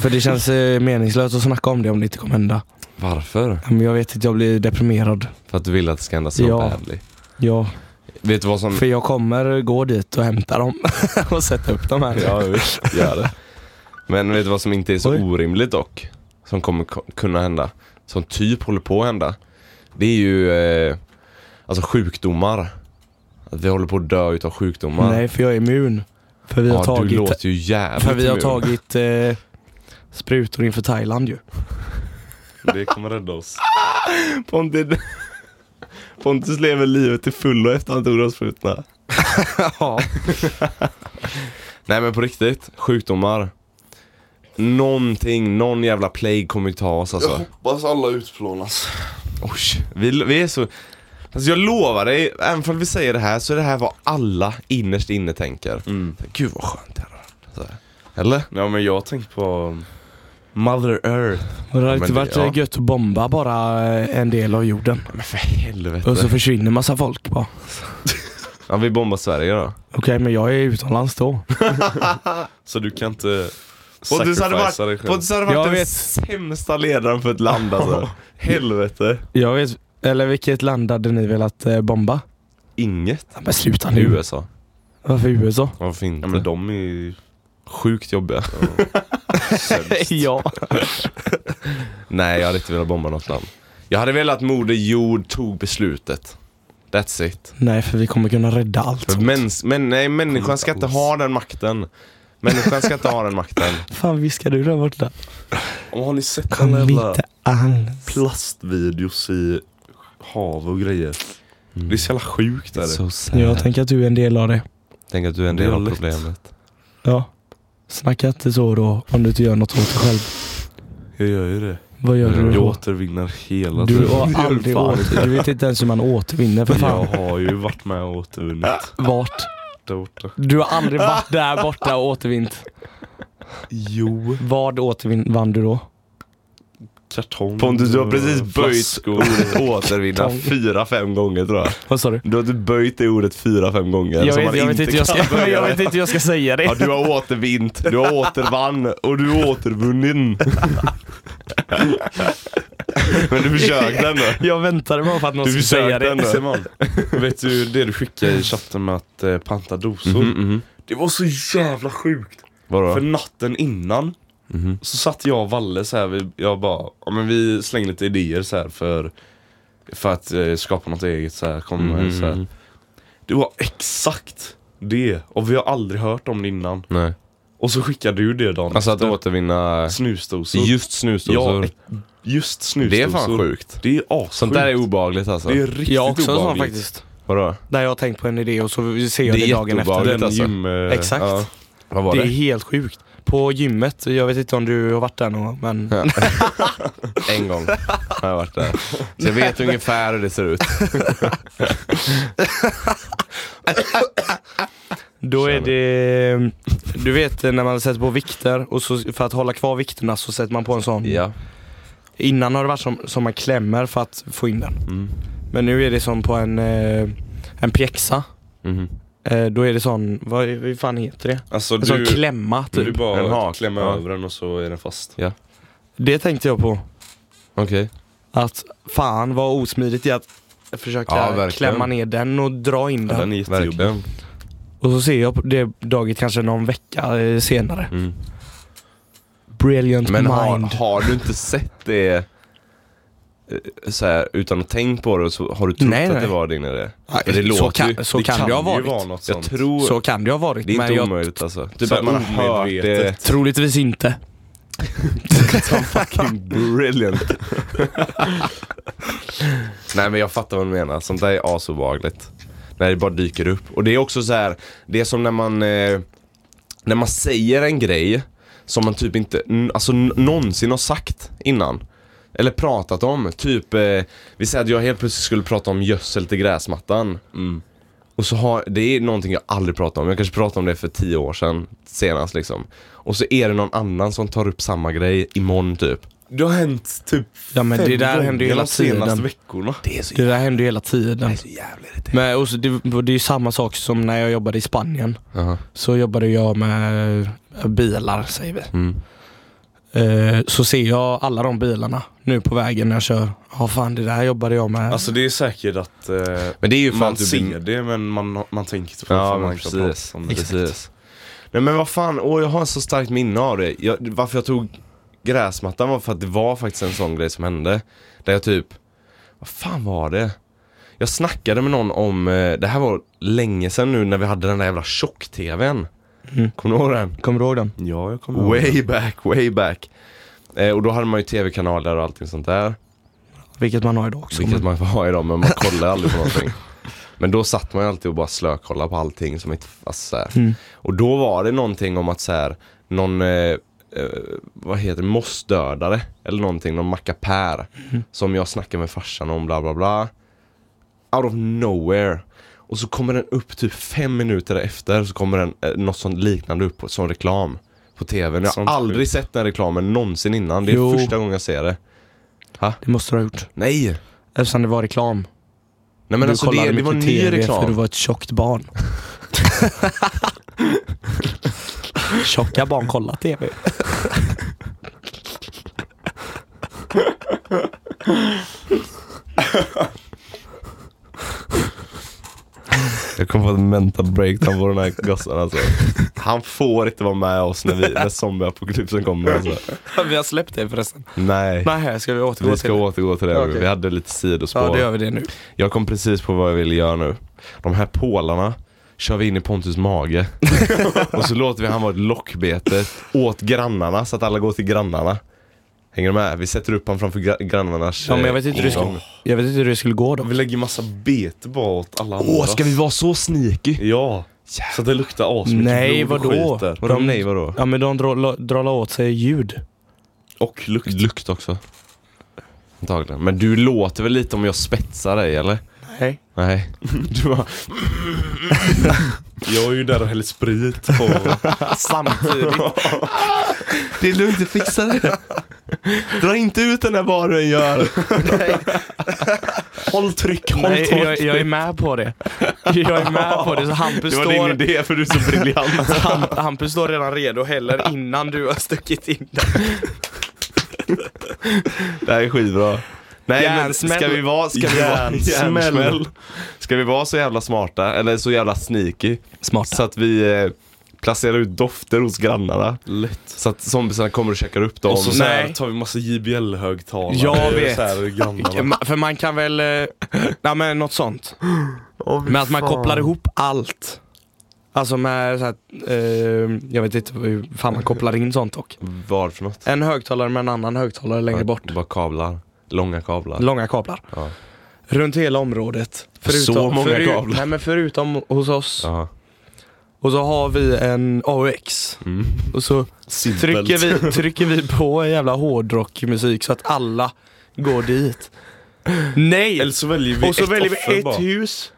S2: För det känns eh, meningslöst att snacka om det om det inte kommer hända.
S3: Varför?
S2: Men jag vet inte, jag blir deprimerad.
S3: För att du vill att det ska hända så
S2: Ja.
S3: badly.
S2: Ja,
S3: Vet du vad som...
S2: för jag kommer gå dit och hämta dem och sätta upp dem här.
S3: Ja visst, gör det. Men vet du vad som inte är så
S2: Oj.
S3: orimligt dock? Som kommer ko- kunna hända. Som typ håller på att hända. Det är ju eh, alltså sjukdomar. Att vi håller på att dö utav sjukdomar.
S2: Nej, för jag är immun. För vi har
S3: ja, du
S2: tagit,
S3: låter ju jävligt
S2: för vi har
S3: immun.
S2: tagit eh, sprutor inför Thailand ju.
S3: Det kommer rädda oss. Pontus, Pontus lever livet till fullo efter han tog röstsprutorna.
S2: Ja.
S3: Nej men på riktigt, sjukdomar. Någonting, någon jävla plague kommer ju ta oss
S1: Jag
S3: alltså.
S1: hoppas alla utplånas.
S3: Oj, vi, vi är så... Alltså jag lovar dig, även om vi säger det här så är det här vad alla innerst inne tänker. Gud vad skönt det hade varit. Så här. Eller?
S1: Mm. Ja men jag har tänkt på Mother Earth.
S2: Men det hade
S3: men
S2: inte
S3: det-
S2: varit
S3: ja.
S2: eh, gött att bomba bara eh, en del av jorden.
S3: Men för helvete.
S2: Och så försvinner massa folk bara.
S3: Ja, vi bombar Sverige då.
S2: Okej, men jag är utomlands då.
S1: Så du kan inte
S3: Pontus hade
S1: sacrificea dig
S3: varit,
S1: själv.
S3: Pontus hade varit
S2: Jag
S3: den
S2: vet.
S3: sämsta ledaren för ett land alltså. Helvete.
S2: Jag vet, eller vilket land hade ni velat eh, bomba?
S3: Inget.
S2: Ja, Men sluta nu.
S3: USA.
S2: Varför USA?
S3: Varför
S1: Ja
S3: inte?
S1: men de är ju
S3: Sjukt jobbiga.
S1: sämst.
S2: ja.
S3: Nej, jag hade inte velat bomba något land. Jag hade velat att Moder Jord tog beslutet. That's it.
S2: Nej, för vi kommer kunna rädda allt.
S3: För mäns- men, nej, människan ska inte ha den makten. Människan ska inte ha den makten.
S2: Fan viskar du där borta?
S1: Om har ni sett alla
S2: Kom
S1: jävla
S2: inte alls.
S1: plastvideos i hav och grejer? Det är Mm. så jävla sjukt är det.
S2: Jag tänker att du är en del av det.
S3: Tänk att du är en del
S1: Det är
S3: av
S1: lätt.
S3: problemet.
S2: Ja. Snacka inte så då om du inte gör något åt dig själv.
S1: Jag gör ju det.
S2: Vad gör
S3: Mm,
S2: du
S1: Jag
S2: då?
S1: återvinner
S3: Alltså,
S1: hela
S2: Du
S1: tiden. Det
S2: har
S1: gör
S2: aldrig
S1: fan
S2: åt,
S1: inte.
S2: Du vet inte ens hur man återvinner för
S1: Jag
S2: fan.
S1: har ju varit med och återvunnit
S2: Vart?
S1: där borta.
S2: Du har aldrig varit där borta och återvint.
S1: Jo.
S2: Vad återvann du då?
S1: Kartong.
S3: Pontus, du har precis
S1: och
S3: böjt
S1: flaskor.
S3: ordet återvinna
S2: Kartong.
S3: fyra, fem gånger tror jag.
S2: Vad sa du?
S3: Du har typ böjt det ordet fyra, fem gånger.
S2: Jag
S3: som
S2: vet,
S3: man
S2: jag, vet inte, jag,
S3: kan
S2: ska,
S3: böja
S2: jag
S3: det.
S2: vet inte hur jag ska säga
S3: Ja,
S2: det.
S3: du har återvint, du har återvann och du har återvunnit. Men du försökte ändå.
S2: Jag väntade bara på att någon
S3: Du
S2: skulle säga
S3: försökte
S2: det.
S3: ändå.
S1: Simon, vet du det du skickade i chatten med att eh, panta dosor?
S3: Mhm.
S1: Det var så jävla sjukt.
S3: Vadå? Mm-hmm.
S1: För natten innan så satt jag och Valle så här, vi, jag bara, ja men vi slängde lite idéer så här för, för att eh, skapa något eget så här, kom med
S3: Mm-hmm.
S1: så
S3: Mhm.
S1: här. Det var exakt det, och vi har aldrig hört om det innan.
S3: Nej.
S1: Och så skickade du det dagen
S3: Alltså att
S1: efter.
S3: återvinna
S1: Snusdosor.
S3: just
S1: ja,
S3: snusdosor.
S1: ex- just snusdosor.
S3: det är fan sjukt.
S1: Det är assjukt.
S3: Sånt där är obehagligt alltså.
S1: Det är riktigt
S2: Jag har också en sån
S1: obehagligt.
S2: faktiskt.
S3: Vadå?
S2: Där jag har tänkt på en idé och så ser jag
S3: Det
S2: det,
S3: är
S2: dagen efter.
S3: jätteobehagligt.
S1: Den
S3: alltså.
S1: gym... eh,
S2: Exakt.
S1: ja.
S3: Vad var
S2: Det
S3: det?
S2: är helt sjukt. På gymmet, jag vet inte om du har varit där någon gång men
S3: En gång har jag varit där. Så jag vet ungefär hur det ser ut.
S2: Då är det, du vet när man sätter på vikter och så för att hålla kvar vikterna så sätter man på en sån Innan har det varit som, som man klämmer för att få in den
S3: Mm.
S2: Men nu är det som på en, eh, en pjäxa
S3: Mhm.
S2: Eh, Då är det sån, vad, vad fan heter det?
S1: Alltså
S2: En sån
S1: du,
S2: klämma typ
S1: du bara
S3: En hak.
S1: klämmer
S3: Ja.
S1: över den och så är den fast.
S2: Det tänkte jag på
S3: Okej.
S2: Att fan vad osmidigt det är att försöka
S3: Ja, verkligen.
S2: klämma ner den och dra in den
S1: Den är jättejobbig.
S3: Verkligen.
S2: Och så ser jag på det daget kanske någon vecka eh, senare
S3: Mm.
S2: Brilliant
S3: Men
S2: mind
S3: har, har du inte sett det eh, så här, utan att tänkt på det så har du trott
S2: Nej,
S3: att
S2: nej.
S3: det var din idé?
S2: Nej,
S3: För det
S2: så
S3: låter
S2: kan-
S3: ju-
S2: så kan det
S3: ju
S2: ha varit.
S3: vara något
S1: Jag
S3: sånt.
S1: tror-
S2: Så kan det ha varit
S3: Det är
S2: men
S3: inte
S2: jag
S3: omöjligt alltså. Du
S1: Så
S3: bara,
S1: att
S3: man
S1: man
S3: har hört det.
S1: omedvetet.
S2: Troligtvis inte.
S3: Fucking brilliant. Nej men jag fattar vad du menar, sånt där är asobehagligt. När det bara dyker upp. Och det är också så här, det är som när man, eh, när man säger en grej som man typ inte, n- alltså n- någonsin har sagt innan. Eller pratat om. Typ, eh, vi säger att jag helt plötsligt skulle prata om gödsel till gräsmattan. Mm. Och så har, det är någonting jag aldrig pratat om. Jag kanske pratade om det för tio år sedan senast liksom. Och så är det någon annan som tar upp samma grej imorgon typ.
S1: Det har hänt typ
S2: Ja men det
S1: fem
S2: där händer ju
S1: gånger
S2: hela
S1: de senaste
S2: tiden.
S1: veckorna.
S3: Det är så,
S2: Det där händer ju hela tiden.
S3: så jävla irriterande.
S2: Men och så, det, det är ju samma sak som när jag jobbade i Spanien.
S3: Jaha.
S2: Så jobbade jag med bilar säger vi.
S3: Mm.
S2: Eh, Så ser jag alla de bilarna nu på vägen när jag kör. Ja fan det där jobbade jag med.
S1: Alltså det är säkert att eh,
S3: Men det är ju typ för
S1: man
S3: att du
S1: ser
S3: blir-
S1: det men man, man tänker inte på
S3: Ja,
S1: varför
S3: men
S1: man inte har
S3: precis.
S1: pratat om det.
S3: precis. Nej men vad fan, åh jag har så starkt minne av det. Jag, varför jag tog gräsmattan var för att det var faktiskt en sån grej som hände. Där jag typ, vad fan var det? Jag snackade med någon om, eh, det här var länge sedan nu när vi hade den där jävla tjock-tvn. Kommer du ihåg den?
S2: Kommer du ihåg den?
S3: Ja, jag kommer Way back, way back. Eh, och då hade man ju tv-kanaler och allting sånt där.
S2: Vilket man har idag också.
S3: Vilket man får ha idag, men man kollar aldrig på någonting. Men då satt man ju alltid och bara slökollade på allting som ett, alltså, så här.
S2: Mm.
S3: Och då var det någonting om att så här, någon, eh, eh, vad heter det, mossdödare eller någonting, någon mackapär.
S2: Mm.
S3: Som jag snackade med farsan om, bla bla bla. Out of nowhere. Och så kommer den upp typ fem minuter efter så kommer den, eh, något sånt liknande upp på- som reklam. På tvn. Jag
S1: Sånt
S3: har aldrig sett den reklamen någonsin innan. Det är
S2: Jo.
S3: första gången jag ser det.
S2: Det måste du ha gjort.
S3: Nej!
S2: Eftersom det var reklam.
S3: Nej men
S2: du
S3: alltså
S2: kollade
S3: det, det var
S2: mycket
S3: ny
S2: för du
S3: reklam.
S2: var ett tjockt barn. Tjocka barn kollar TV.
S3: Jag kommer få ett mental breakdown på den här gossen alltså. Han får inte vara med oss när, vi, när zombieapokalypsen kommer alltså.
S2: vi har släppt det förresten.
S3: Nej.
S2: Nej, ska vi återgå
S3: Vi
S2: till
S3: ska
S2: det?
S3: återgå till det nu.
S2: Okej.
S3: Vi hade lite
S2: Ja,
S3: sidospår.
S2: då gör vi det nu.
S3: Jag kom precis på vad jag ville göra nu. De här pålarna kör vi in i Pontus mage. och så låter vi han vara ett lockbete åt grannarna så att alla går till grannarna. Hänger du med? Vi sätter upp honom framför gra- grannarnas...
S2: Ja, men jag
S3: eh,
S2: vet inte hur det skulle, jag vet inte hur det skulle gå då.
S3: Vi lägger massa bete bara åt alla andra.
S1: Åh, ska vi vara så sneaky?
S3: Ja, så att det luktar asmycket
S2: Nej,
S3: blod och
S2: vadå?
S3: skit där.
S2: Vadå,
S3: De, nej vadå?
S2: Ja men de drar drar åt sig ljud.
S3: Och lukt. Lukt också. Antagligen. Men du låter väl lite om jag spetsar dig eller?
S2: Nej.
S3: Nej. Du bara... jag är ju där och häller sprit på...
S2: Samtidigt.
S3: det är lugnt, jag fixar det. Dra inte ut den där vad du än gör. håll tryck, håll
S2: Nej,
S3: tryck.
S2: jag, jag är med på det. Jag är med på det. Så Hampus
S3: Det var din
S2: står,
S3: idé för du är så briljant.
S2: Ham- Hampus står redan redo heller innan du har stuckit in den.
S3: Det här är skitbra. Nej men
S2: Järnsmäll.
S3: ska vi vara, ska vi vara,
S1: Järnsmäll.
S3: järnsmäll. Ska vi vara så jävla smarta, eller så jävla sneaky,
S2: Smarta.
S3: så att vi eh, placerar ut dofter hos grannarna.
S1: Lätt.
S3: Så att zombiesarna kommer och käkar upp dem.
S1: Och så, så här,
S2: Nej.
S1: tar vi massa JBL-högtalare.
S2: Jag
S1: Det är
S2: vet.
S1: Så här, grannarna.
S2: Ma- För man kan väl, eh, nej men något sånt. men att man kopplar ihop allt. Alltså med så här, eh, jag vet inte hur fan man kopplar in sånt dock.
S3: Vad för något?
S2: En högtalare med en annan högtalare längre bort.
S3: Bara kablar. Långa kablar.
S2: Långa kablar.
S3: Ja.
S2: Runt hela området.
S3: Så många
S2: föru-
S3: kablar.
S2: Nej men förutom hos oss.
S3: Ja.
S2: Och så har vi en AUX.
S3: Mm.
S2: Och så trycker vi, trycker vi på en jävla hårdrockmusik så att alla går dit. Nej!
S1: Eller så väljer vi
S2: och så
S1: ett
S2: väljer
S1: offer
S2: vi ett
S1: bara.
S2: hus.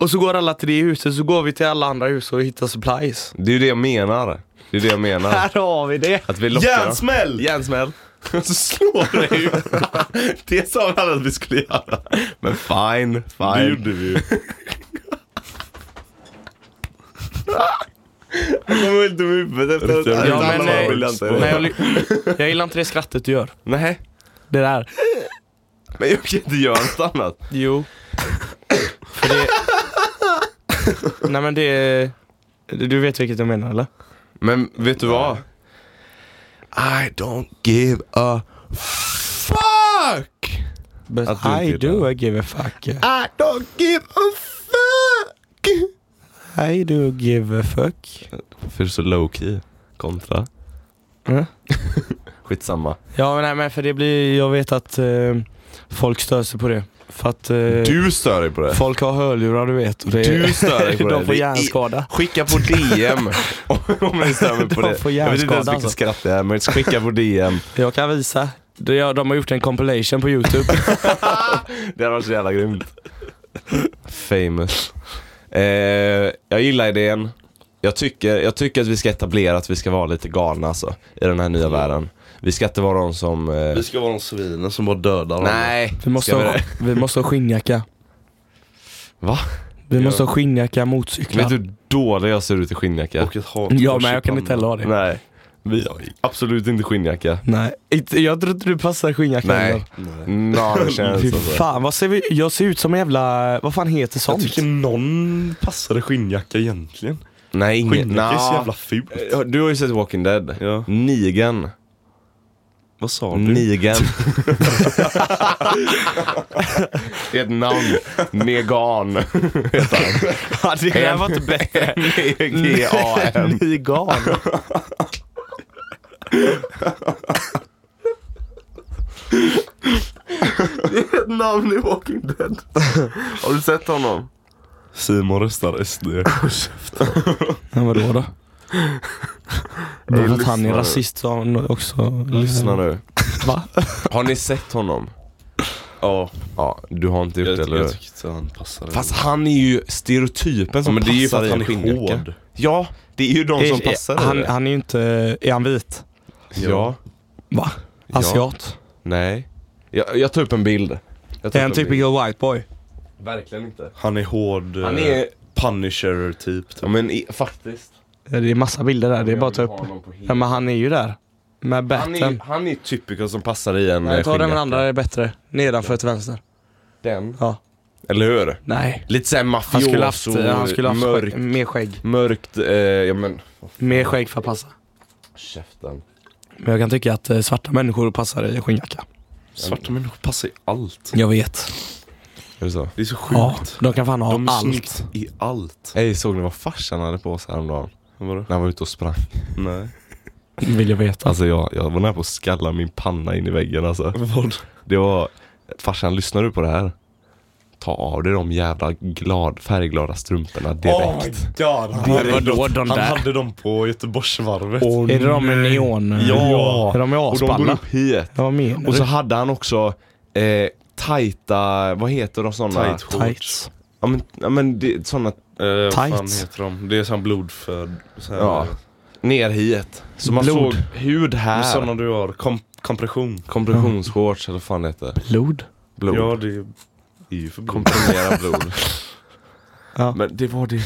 S2: Och så går alla till det huset, så går vi till alla andra hus och hittar supplies.
S3: Det är ju det jag menar. Det är det jag menar.
S2: Här har vi det!
S3: Att vi lockar.
S1: Järnsmäll!
S3: Järnsmäll.
S1: Så slår det ju.
S3: Det sa vi alla att vi skulle göra. Men fine,
S1: Det
S3: fine.
S1: gjorde vi ju.
S3: Jag var helt dum i huvudet efter
S1: Riktiga
S3: det.
S1: Ja,
S2: Ja, men,
S1: men alla
S2: nej,
S1: var
S3: Alla
S1: briljanta.
S3: var
S2: nej, jag, ly- jag gillar inte det skrattet du gör.
S3: Nej,
S2: Det där.
S3: men jag kan inte göra något annat.
S2: Jo. För det... Nej men det... Du vet vilket jag menar eller?
S3: Men vet du vad? I don't give a fuck!
S2: But
S3: Att du
S2: I
S3: inte gillar
S2: do give a fuck.
S3: I don't give a fuck!
S2: I do give a fuck.
S3: För så low key. Kontra.
S2: Mm.
S3: Skitsamma.
S2: Ja men nej men för det blir, jag vet att eh, folk stör sig på det. För att eh,
S3: Du stör dig på det.
S2: folk har hörlurar du vet. Och det,
S3: Du stör dig på det.
S2: De får
S3: Det är-
S2: hjärnskada.
S3: Skicka på DM om ni stör mig på
S2: De
S3: det.
S2: får
S3: jag vet
S2: hjärnskada,
S3: inte ens vilket
S2: alltså.
S3: skratt det är, men skicka på DM.
S2: Jag kan visa. Det, ja, de har gjort en compilation på youtube.
S3: Det hade varit så jävla grymt. Famous. Eh, jag gillar idén. Jag tycker, jag tycker att vi ska etablera att vi ska vara lite galna alltså, i den här
S2: Mm.
S3: nya världen. Vi ska inte vara de som... Eh,
S1: Vi ska vara de svinen som bara dödar varandra.
S3: nej.
S2: Vi måste,
S3: Ska vi
S2: ha,
S3: det?
S2: vi måste ha skinnjacka.
S3: Va?
S2: Vi måste ha skinnjacka, motorcyklar.
S3: Vet du hur dålig jag ser ut i skinnjacka?
S1: Och ett hat-
S2: Ja men jag kan inte heller ha det.
S3: Nej. Vi, absolut inte skinnjacka.
S2: Nej, inte- jag tror inte du passar skinnjackan.
S3: Nej. Nå, det
S2: Fy
S3: känns så.
S2: fan, vad ser vi? Jag ser ut som en jävla, vad fan heter
S1: Jag
S2: sånt?
S1: tycker någon passade skinnjacka egentligen.
S3: Nej, inget.
S1: Skinnjacka är så
S3: Nå.
S1: jävla fult.
S3: Du har ju sett Walking Dead.
S1: Ja.
S3: Nigen.
S1: Vad sa du?
S3: Nigen. Det är ett namn. Negan heter han.
S2: det här var inte bättre. Mm.
S3: N-E-G-A-N.
S2: Nigan.
S1: Det är ett namn i Walking Dead. Har du sett honom? Simon röstar SD.
S2: Men vadå då? Bara för att han är
S1: lyssnar.
S2: rasist så har han också...
S1: Mm.
S3: Lyssna nu.
S2: Va?
S3: Har ni sett honom?
S1: Ja,
S3: Ja, du har inte gjort
S1: jag,
S3: det eller
S1: jag
S3: hur?
S1: tyckte han passade.
S3: Fast han är ju stereotypen
S1: ja,
S3: som
S1: men det är ju för
S3: passar
S1: att
S3: i
S1: han
S3: en
S1: är
S3: skinnjacka.
S1: hård.
S3: Ja, det är ju de som
S2: Är- är-
S3: passar i
S2: Eh, han,
S3: det.
S2: han är ju inte... Är han vit?
S3: Ja,
S2: Va?
S3: Ja.
S2: Asiat?
S3: nej. Jag, jag tar upp en bild. Jag tar
S2: Är typ han
S3: upp en bild.
S2: typical white boy?
S3: Verkligen inte.
S1: Han är hård.
S3: Han
S1: eh,
S3: är,
S1: Punisher typ.
S3: ja men i, faktiskt.
S2: Eh, Det är massa bilder där, det är bara typ att ta upp. Ja men han är ju där. Med
S3: Han är,
S2: batten.
S3: han är typical som passar i en
S2: Nej,
S3: eh,
S2: ta den
S3: skinnjacka.
S2: andra, det är bättre. Nedanför till vänster.
S3: Den.
S2: Ja.
S3: Eller hur?
S2: Nej.
S3: Lite såhär
S2: Han
S3: mafioso,
S2: skulle haft, han skulle haft
S3: mörk,
S2: skägg, mer skägg.
S3: mörkt, eh, ja men
S2: Mer skägg för att passa.
S3: käften.
S2: Men jag kan tycka att eh, svarta människor passar i skinnjacka.
S1: Svarta människor passar i allt.
S2: Jag vet.
S3: Är det så?
S1: Det är så sjukt.
S2: Ja, de kan fan ha
S1: De är
S2: allt.
S1: snyggt i allt.
S3: Ey såg ni vad farsan hade på sig häromdagen?
S1: Vadå?
S3: När han var ute och sprang.
S1: Nej.
S2: Vill jag veta.
S3: Alltså jag, jag var nära på att skalla min panna in i väggen alltså.
S1: Vad?
S3: Det var, farsan lyssnar du på det här? Ta av dig de jävla glad, färgglada strumporna
S1: Oh my
S3: direkt.
S1: god. Han,
S2: Direkt. Vadå, de
S1: han
S2: där?
S1: hade dem på Göteborgsvarvet.
S2: är det de med neon?
S1: Ja.
S2: Är de med
S3: och de går
S2: aspanna?
S3: upp hit.
S2: Ja, Vad menar
S3: Och så
S2: du?
S3: hade han också eh, tajta, vad heter de sådana?
S1: Tight
S2: Tights.
S3: Ja men, ja, men det, sådana
S1: Eh, vad fan
S2: Tights.
S1: heter de? Det är sån blodfödd. Så här,
S3: Ja. Ner hit. Så man
S2: Blod.
S3: såg hud
S1: Det är
S3: här.
S1: såna du har. Kom kompression.
S3: Kompressionsshorts eller vad fan det heter.
S2: Blod?
S3: Blod.
S1: Ja, det är det är ju för blod.
S3: Komprimera blod.
S2: Ja.
S3: Men det var det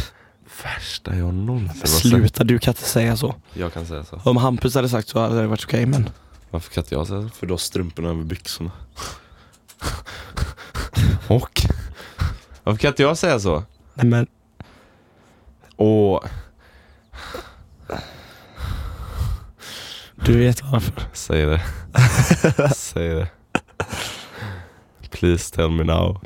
S3: värsta jag någonsin har sett.
S2: Sluta, du kan inte säga så.
S3: Jag kan säga så.
S2: Om Hampus hade sagt så hade det varit okej men...
S3: Varför kan inte jag säga så?
S1: För då har strumporna över byxorna.
S3: Och? Varför kan inte jag säga så?
S2: Nej men...
S3: Och
S2: Du vet varför.
S3: Säg det. Säg det. Please tell me now.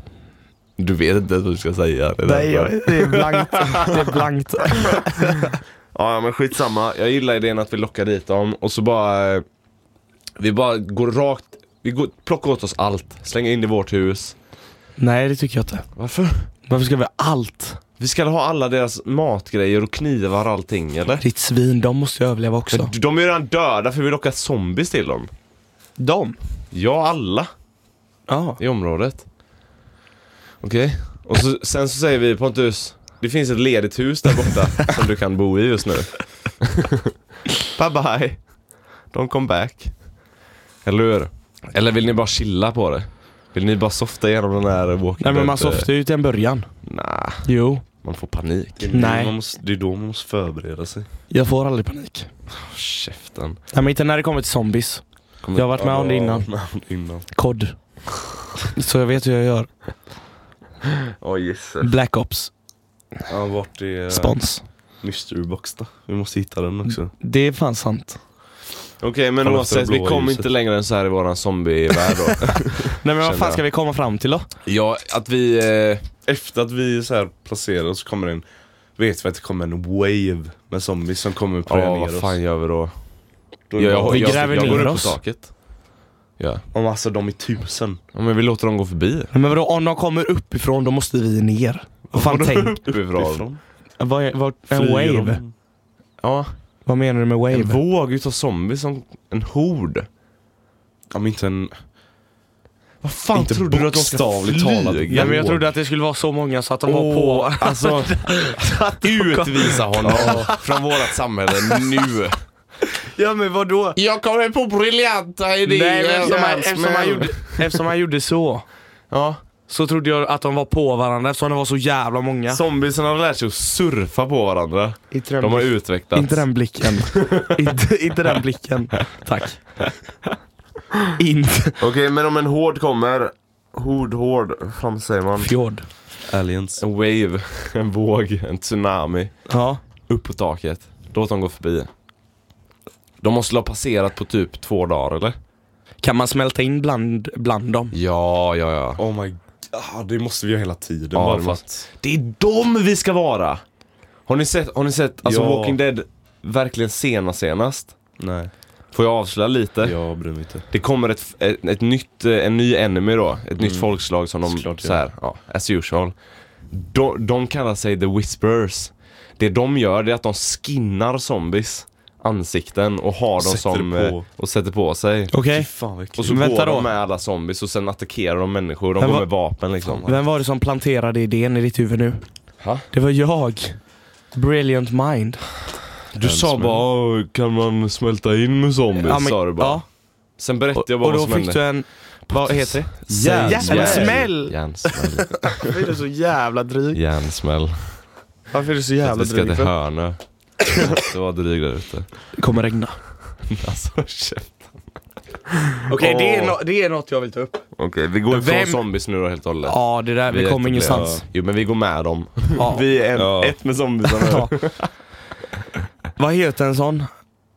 S3: Du vet inte vad du ska säga. Det är därför.
S2: det är blankt. Det är blankt.
S3: Ja, ja, men skitsamma. Jag gillar idén att vi lockar dit dem och så bara... eh, Vi bara går rakt... Vi går, plockar åt oss allt. Slänger in i vårt hus.
S2: Nej det tycker jag inte.
S3: Varför?
S2: Varför ska vi ha allt?
S3: Vi ska ha alla deras matgrejer och knivar och allting, eller?
S2: Ditt svin, de måste ju överleva också.
S3: Men De är ju redan döda för vi lockar zombies till dem.
S2: De?
S3: Ja, alla
S2: Ja.
S3: i området. Okej. Och så, sen så säger vi Pontus, det finns ett ledigt hus där borta som du kan bo i just nu. bye bye. Don't come back. Eller hur? Eller vill ni bara chilla på det? Vill ni bara softa igenom den här walking
S2: Nej men man
S3: dead, eh,
S2: softar ju till en början.
S3: Nah,
S2: Jo.
S3: man får panik.
S1: Det är nu
S2: Nej.
S1: Man måste, det är då man måste förbereda sig.
S2: Jag får aldrig panik.
S3: Oh, käften.
S2: Nej men inte när det kommer till zombies. Jag har varit med om det innan.
S1: Ja, men innan.
S2: Kod. Så jag vet hur jag gör.
S1: Ja, yes.
S2: Black Ops.
S1: Ja, vart är
S2: Spons.
S1: Mystery Box då? Vi måste hitta den också.
S2: Det är fan sant.
S3: Okej men
S1: Kolla efter det
S3: oavsett, vi
S1: blåa
S3: kommer
S1: ljuset.
S3: inte längre än så här i våran zombievärld då.
S2: Nej men vad
S3: Känner
S2: fan
S3: jag.
S2: ska vi komma fram till då?
S3: ja, att vi... Eh,
S1: Efter att vi så här placerar oss kommer en Vet vi att det kommer en wave med zombies som kommer och pröva
S3: ja,
S1: ner
S3: vad
S1: oss.
S3: fan gör vi då?
S1: Då är
S3: Ja,
S1: det
S3: jag,
S1: bara-
S2: Vi
S3: jag,
S2: gräver
S3: jag,
S2: ner
S3: går upp på
S2: oss.
S3: taket. Ja.
S1: Om alltså de är tusen.
S3: ja, men vi låter dem gå förbi.
S2: Nej, Men vadå, om de kommer uppifrån då måste vi ner. Vad fan tänk?
S3: Uppifrån.
S2: Vad, är- vad, en
S1: Flyger
S2: wave?
S1: de?
S3: Ja,
S2: Vad menar du med
S3: en
S2: wave?
S3: våg utav zombies som en hord.
S1: Ja men inte en...
S3: Vad fan
S1: Inte
S3: trodde du att de ska
S1: bokstavligt talat.
S3: flyga?
S2: Nej men jag trodde att det skulle vara så många så att de var
S3: Åh,
S2: på.
S3: Alltså, utvisa honom från vårat samhälle nu.
S2: Ja men vadå?
S3: Jag kommer på briljanta
S2: Nej, men eftersom, han, eftersom, han gjorde, eftersom han gjorde så.
S3: Ja.
S2: Så trodde jag att de var på varandra eftersom de var så jävla många.
S3: Zombiesen har lärt sig att surfa på varandra.
S2: inte, den
S3: De har
S2: blick-
S3: utvecklats.
S2: inte den blicken. inte, inte den blicken. Tack. Inte.
S3: Okej, men om en hård kommer. Hord, hård. Fram säger man.
S2: Fjord.
S1: Aliens.
S3: En wave, en våg, en tsunami.
S2: Ja.
S3: Upp på taket. Låt dem gå förbi. De måste ha passerat på typ två dagar eller?
S2: Kan man smälta in bland, bland dem?
S3: Ja, ja, ja.
S1: Oh my god, det måste vi göra hela tiden.
S3: Ja,
S1: bara
S3: det
S1: för
S3: måste-
S1: att...
S3: Det är dem vi ska vara! Har ni sett, har ni sett alltså
S1: Ja.
S3: Walking Dead verkligen sena senast?
S1: Nej,
S3: Får jag avslöja lite?
S1: jag bryr mig inte.
S3: Det kommer ett, ett, ett nytt, eh, en ny enemy då, ett nytt folkslag som de,
S1: Mm. Såklart, ja.
S3: så här, ja, as usual. De, de kallar sig the whisperers. Det de gör det är att de skinnar zombies ansikten och har dem
S1: Sätter
S3: som,
S1: på.
S3: eh, och sätter på sig.
S2: Okej.
S1: Fy fan vad
S3: Och
S1: äckligt.
S3: så
S2: Men
S3: går
S2: vänta då.
S3: de med alla zombies och sen attackerar de människor, de
S2: Men
S3: går
S2: vad-
S3: med vapen liksom.
S2: Vem var det som planterade idén i ditt huvud nu?
S3: Ha?
S2: Det var jag. Brilliant mind.
S3: Du sa
S1: Hemskt, men-
S3: bara kan man smälta in med zombies?
S2: Ja, men-
S3: sa du bara.
S2: ja.
S3: Sen berättade
S2: Och,
S3: jag bara
S2: och då
S3: vad som
S2: fick
S3: hände.
S2: du en... Vad heter det?
S3: Järnsmäll.
S2: Järnsmäll.
S3: Järnsmäll.
S2: Varför är du så jävla dryg?
S3: Järnsmäll.
S2: Varför är du så
S3: Att vi ska till Hönö. Det var dryg där ute.
S2: Det kommer regna.
S3: Alltså käft.
S2: Okej, det, är
S3: Åh.
S2: nå- det är något jag vill ta upp.
S3: Okej, vi går ifrån
S2: Vem-
S3: zombies nu då helt och hållet.
S2: Ja, det där, vi,
S3: är
S2: kommer
S3: jätteglada.
S2: ingenstans.
S3: Jo men vi går med dem.
S2: Ja.
S3: Vi är en,
S1: Ja.
S3: ett med zombiesarna.
S2: Ja. Vad heter en sån?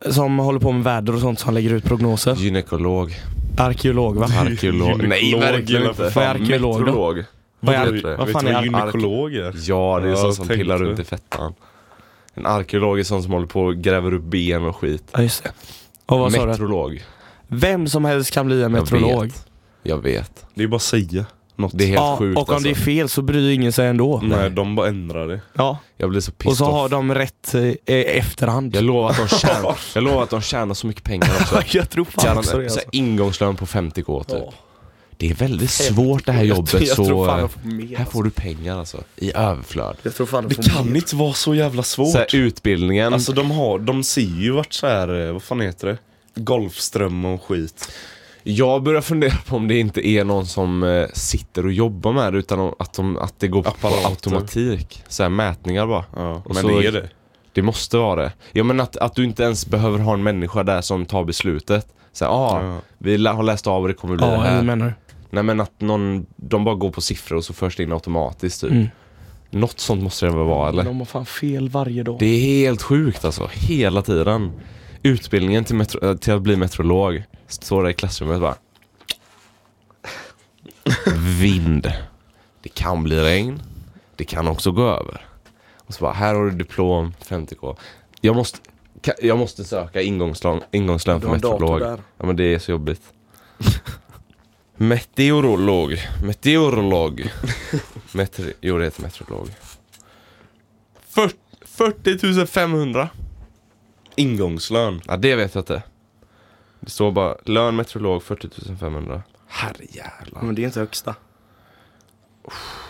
S2: Som håller på med väder och sånt som lägger ut prognoser.
S3: Gynekolog,
S2: Arkeolog va?
S3: arkeolog. Nej
S1: Gynekolog
S3: verkligen
S1: gillar
S3: inte.
S1: för
S2: fan. Arkeolog då?
S3: Meteorolog.
S2: Vad är
S3: Vet du-
S2: det? Vad
S1: Vet
S2: fan
S1: du
S2: är
S1: vad
S2: ark-
S1: gynekolog är?
S3: Ja det är
S1: Ja,
S3: sånt
S1: jag
S3: som
S1: tänkte
S3: pillar
S1: det.
S3: runt i fettan. En arkeolog är sån som håller på och gräver upp ben och skit.
S2: Ja just det. Och vad sa du?
S3: Metrolog.
S2: Vem som helst kan bli en
S3: Jag
S2: meteorolog.
S3: vet. Jag vet.
S1: Det är bara att säga något.
S3: Det är helt
S2: Ja,
S3: sjukt
S2: och om
S3: alltså.
S2: det är fel så bryr ingen sig ändå.
S1: Nej, de bara ändrar det.
S2: Ja.
S3: Jag blir så pissed
S2: Och så
S3: off.
S2: har de rätt eh, i efterhand.
S3: Jag lovar att de tjänar, jag lovar att de tjänar så mycket pengar också.
S2: Jag tror fan
S3: Tjänar så
S2: också det.
S3: här
S2: Alltså.
S3: ingångslön på 50k typ.
S2: Ja.
S3: Det är väldigt svårt det här
S2: Jag
S3: jobbet
S2: tror- jag
S3: så
S2: tror fan
S3: eh,
S2: jag får mer,
S3: här får du pengar alltså. I överflöd.
S2: Jag tror fan
S1: Det kan inte vara så jävla svårt.
S3: Så här, utbildningen.
S1: Alltså de har, de ser ju vart så här, eh, vad fan heter det? Golfström och skit.
S3: jag börjar fundera på om det inte är någon som eh, sitter och jobbar med det utan om- att, de, att det går på
S1: Apparater.
S3: automatik. Så här, mätningar bara.
S1: Ja,
S3: Och
S1: men
S3: så-
S1: det är det.
S3: Det måste vara det. Ja men att, att du inte ens behöver ha en människa där som tar beslutet. Så här, ah,
S1: Ja.
S3: vi lä- har läst av och det kommer bli det
S2: Ja,
S3: här.
S2: jag menar
S3: Nej men att någon, de bara går på siffror och så förs det in automatiskt typ.
S2: Mm.
S3: Något sånt måste det väl vara eller?
S2: De har fan fel varje dag.
S3: Det är helt sjukt alltså, hela tiden. Utbildningen till, metro- äh, till att bli meteorolog, står där i klassrummet bara. Vind. Det kan bli regn. Det kan också gå över. Och så bara, här har du diplom, 50k. Jag måste, ka- jag måste söka ingångslön, ingångslön för
S2: har en dator
S3: meteorolog.
S2: där.
S3: Ja men det är så jobbigt. Meteorolog, meteorolog. Meteor, jo det heter meteorolog. 40, 40 500.
S1: Ingångslön.
S3: Ja, det vet jag inte. Det står bara lön meteorolog 40 500.
S2: Men det är inte högsta.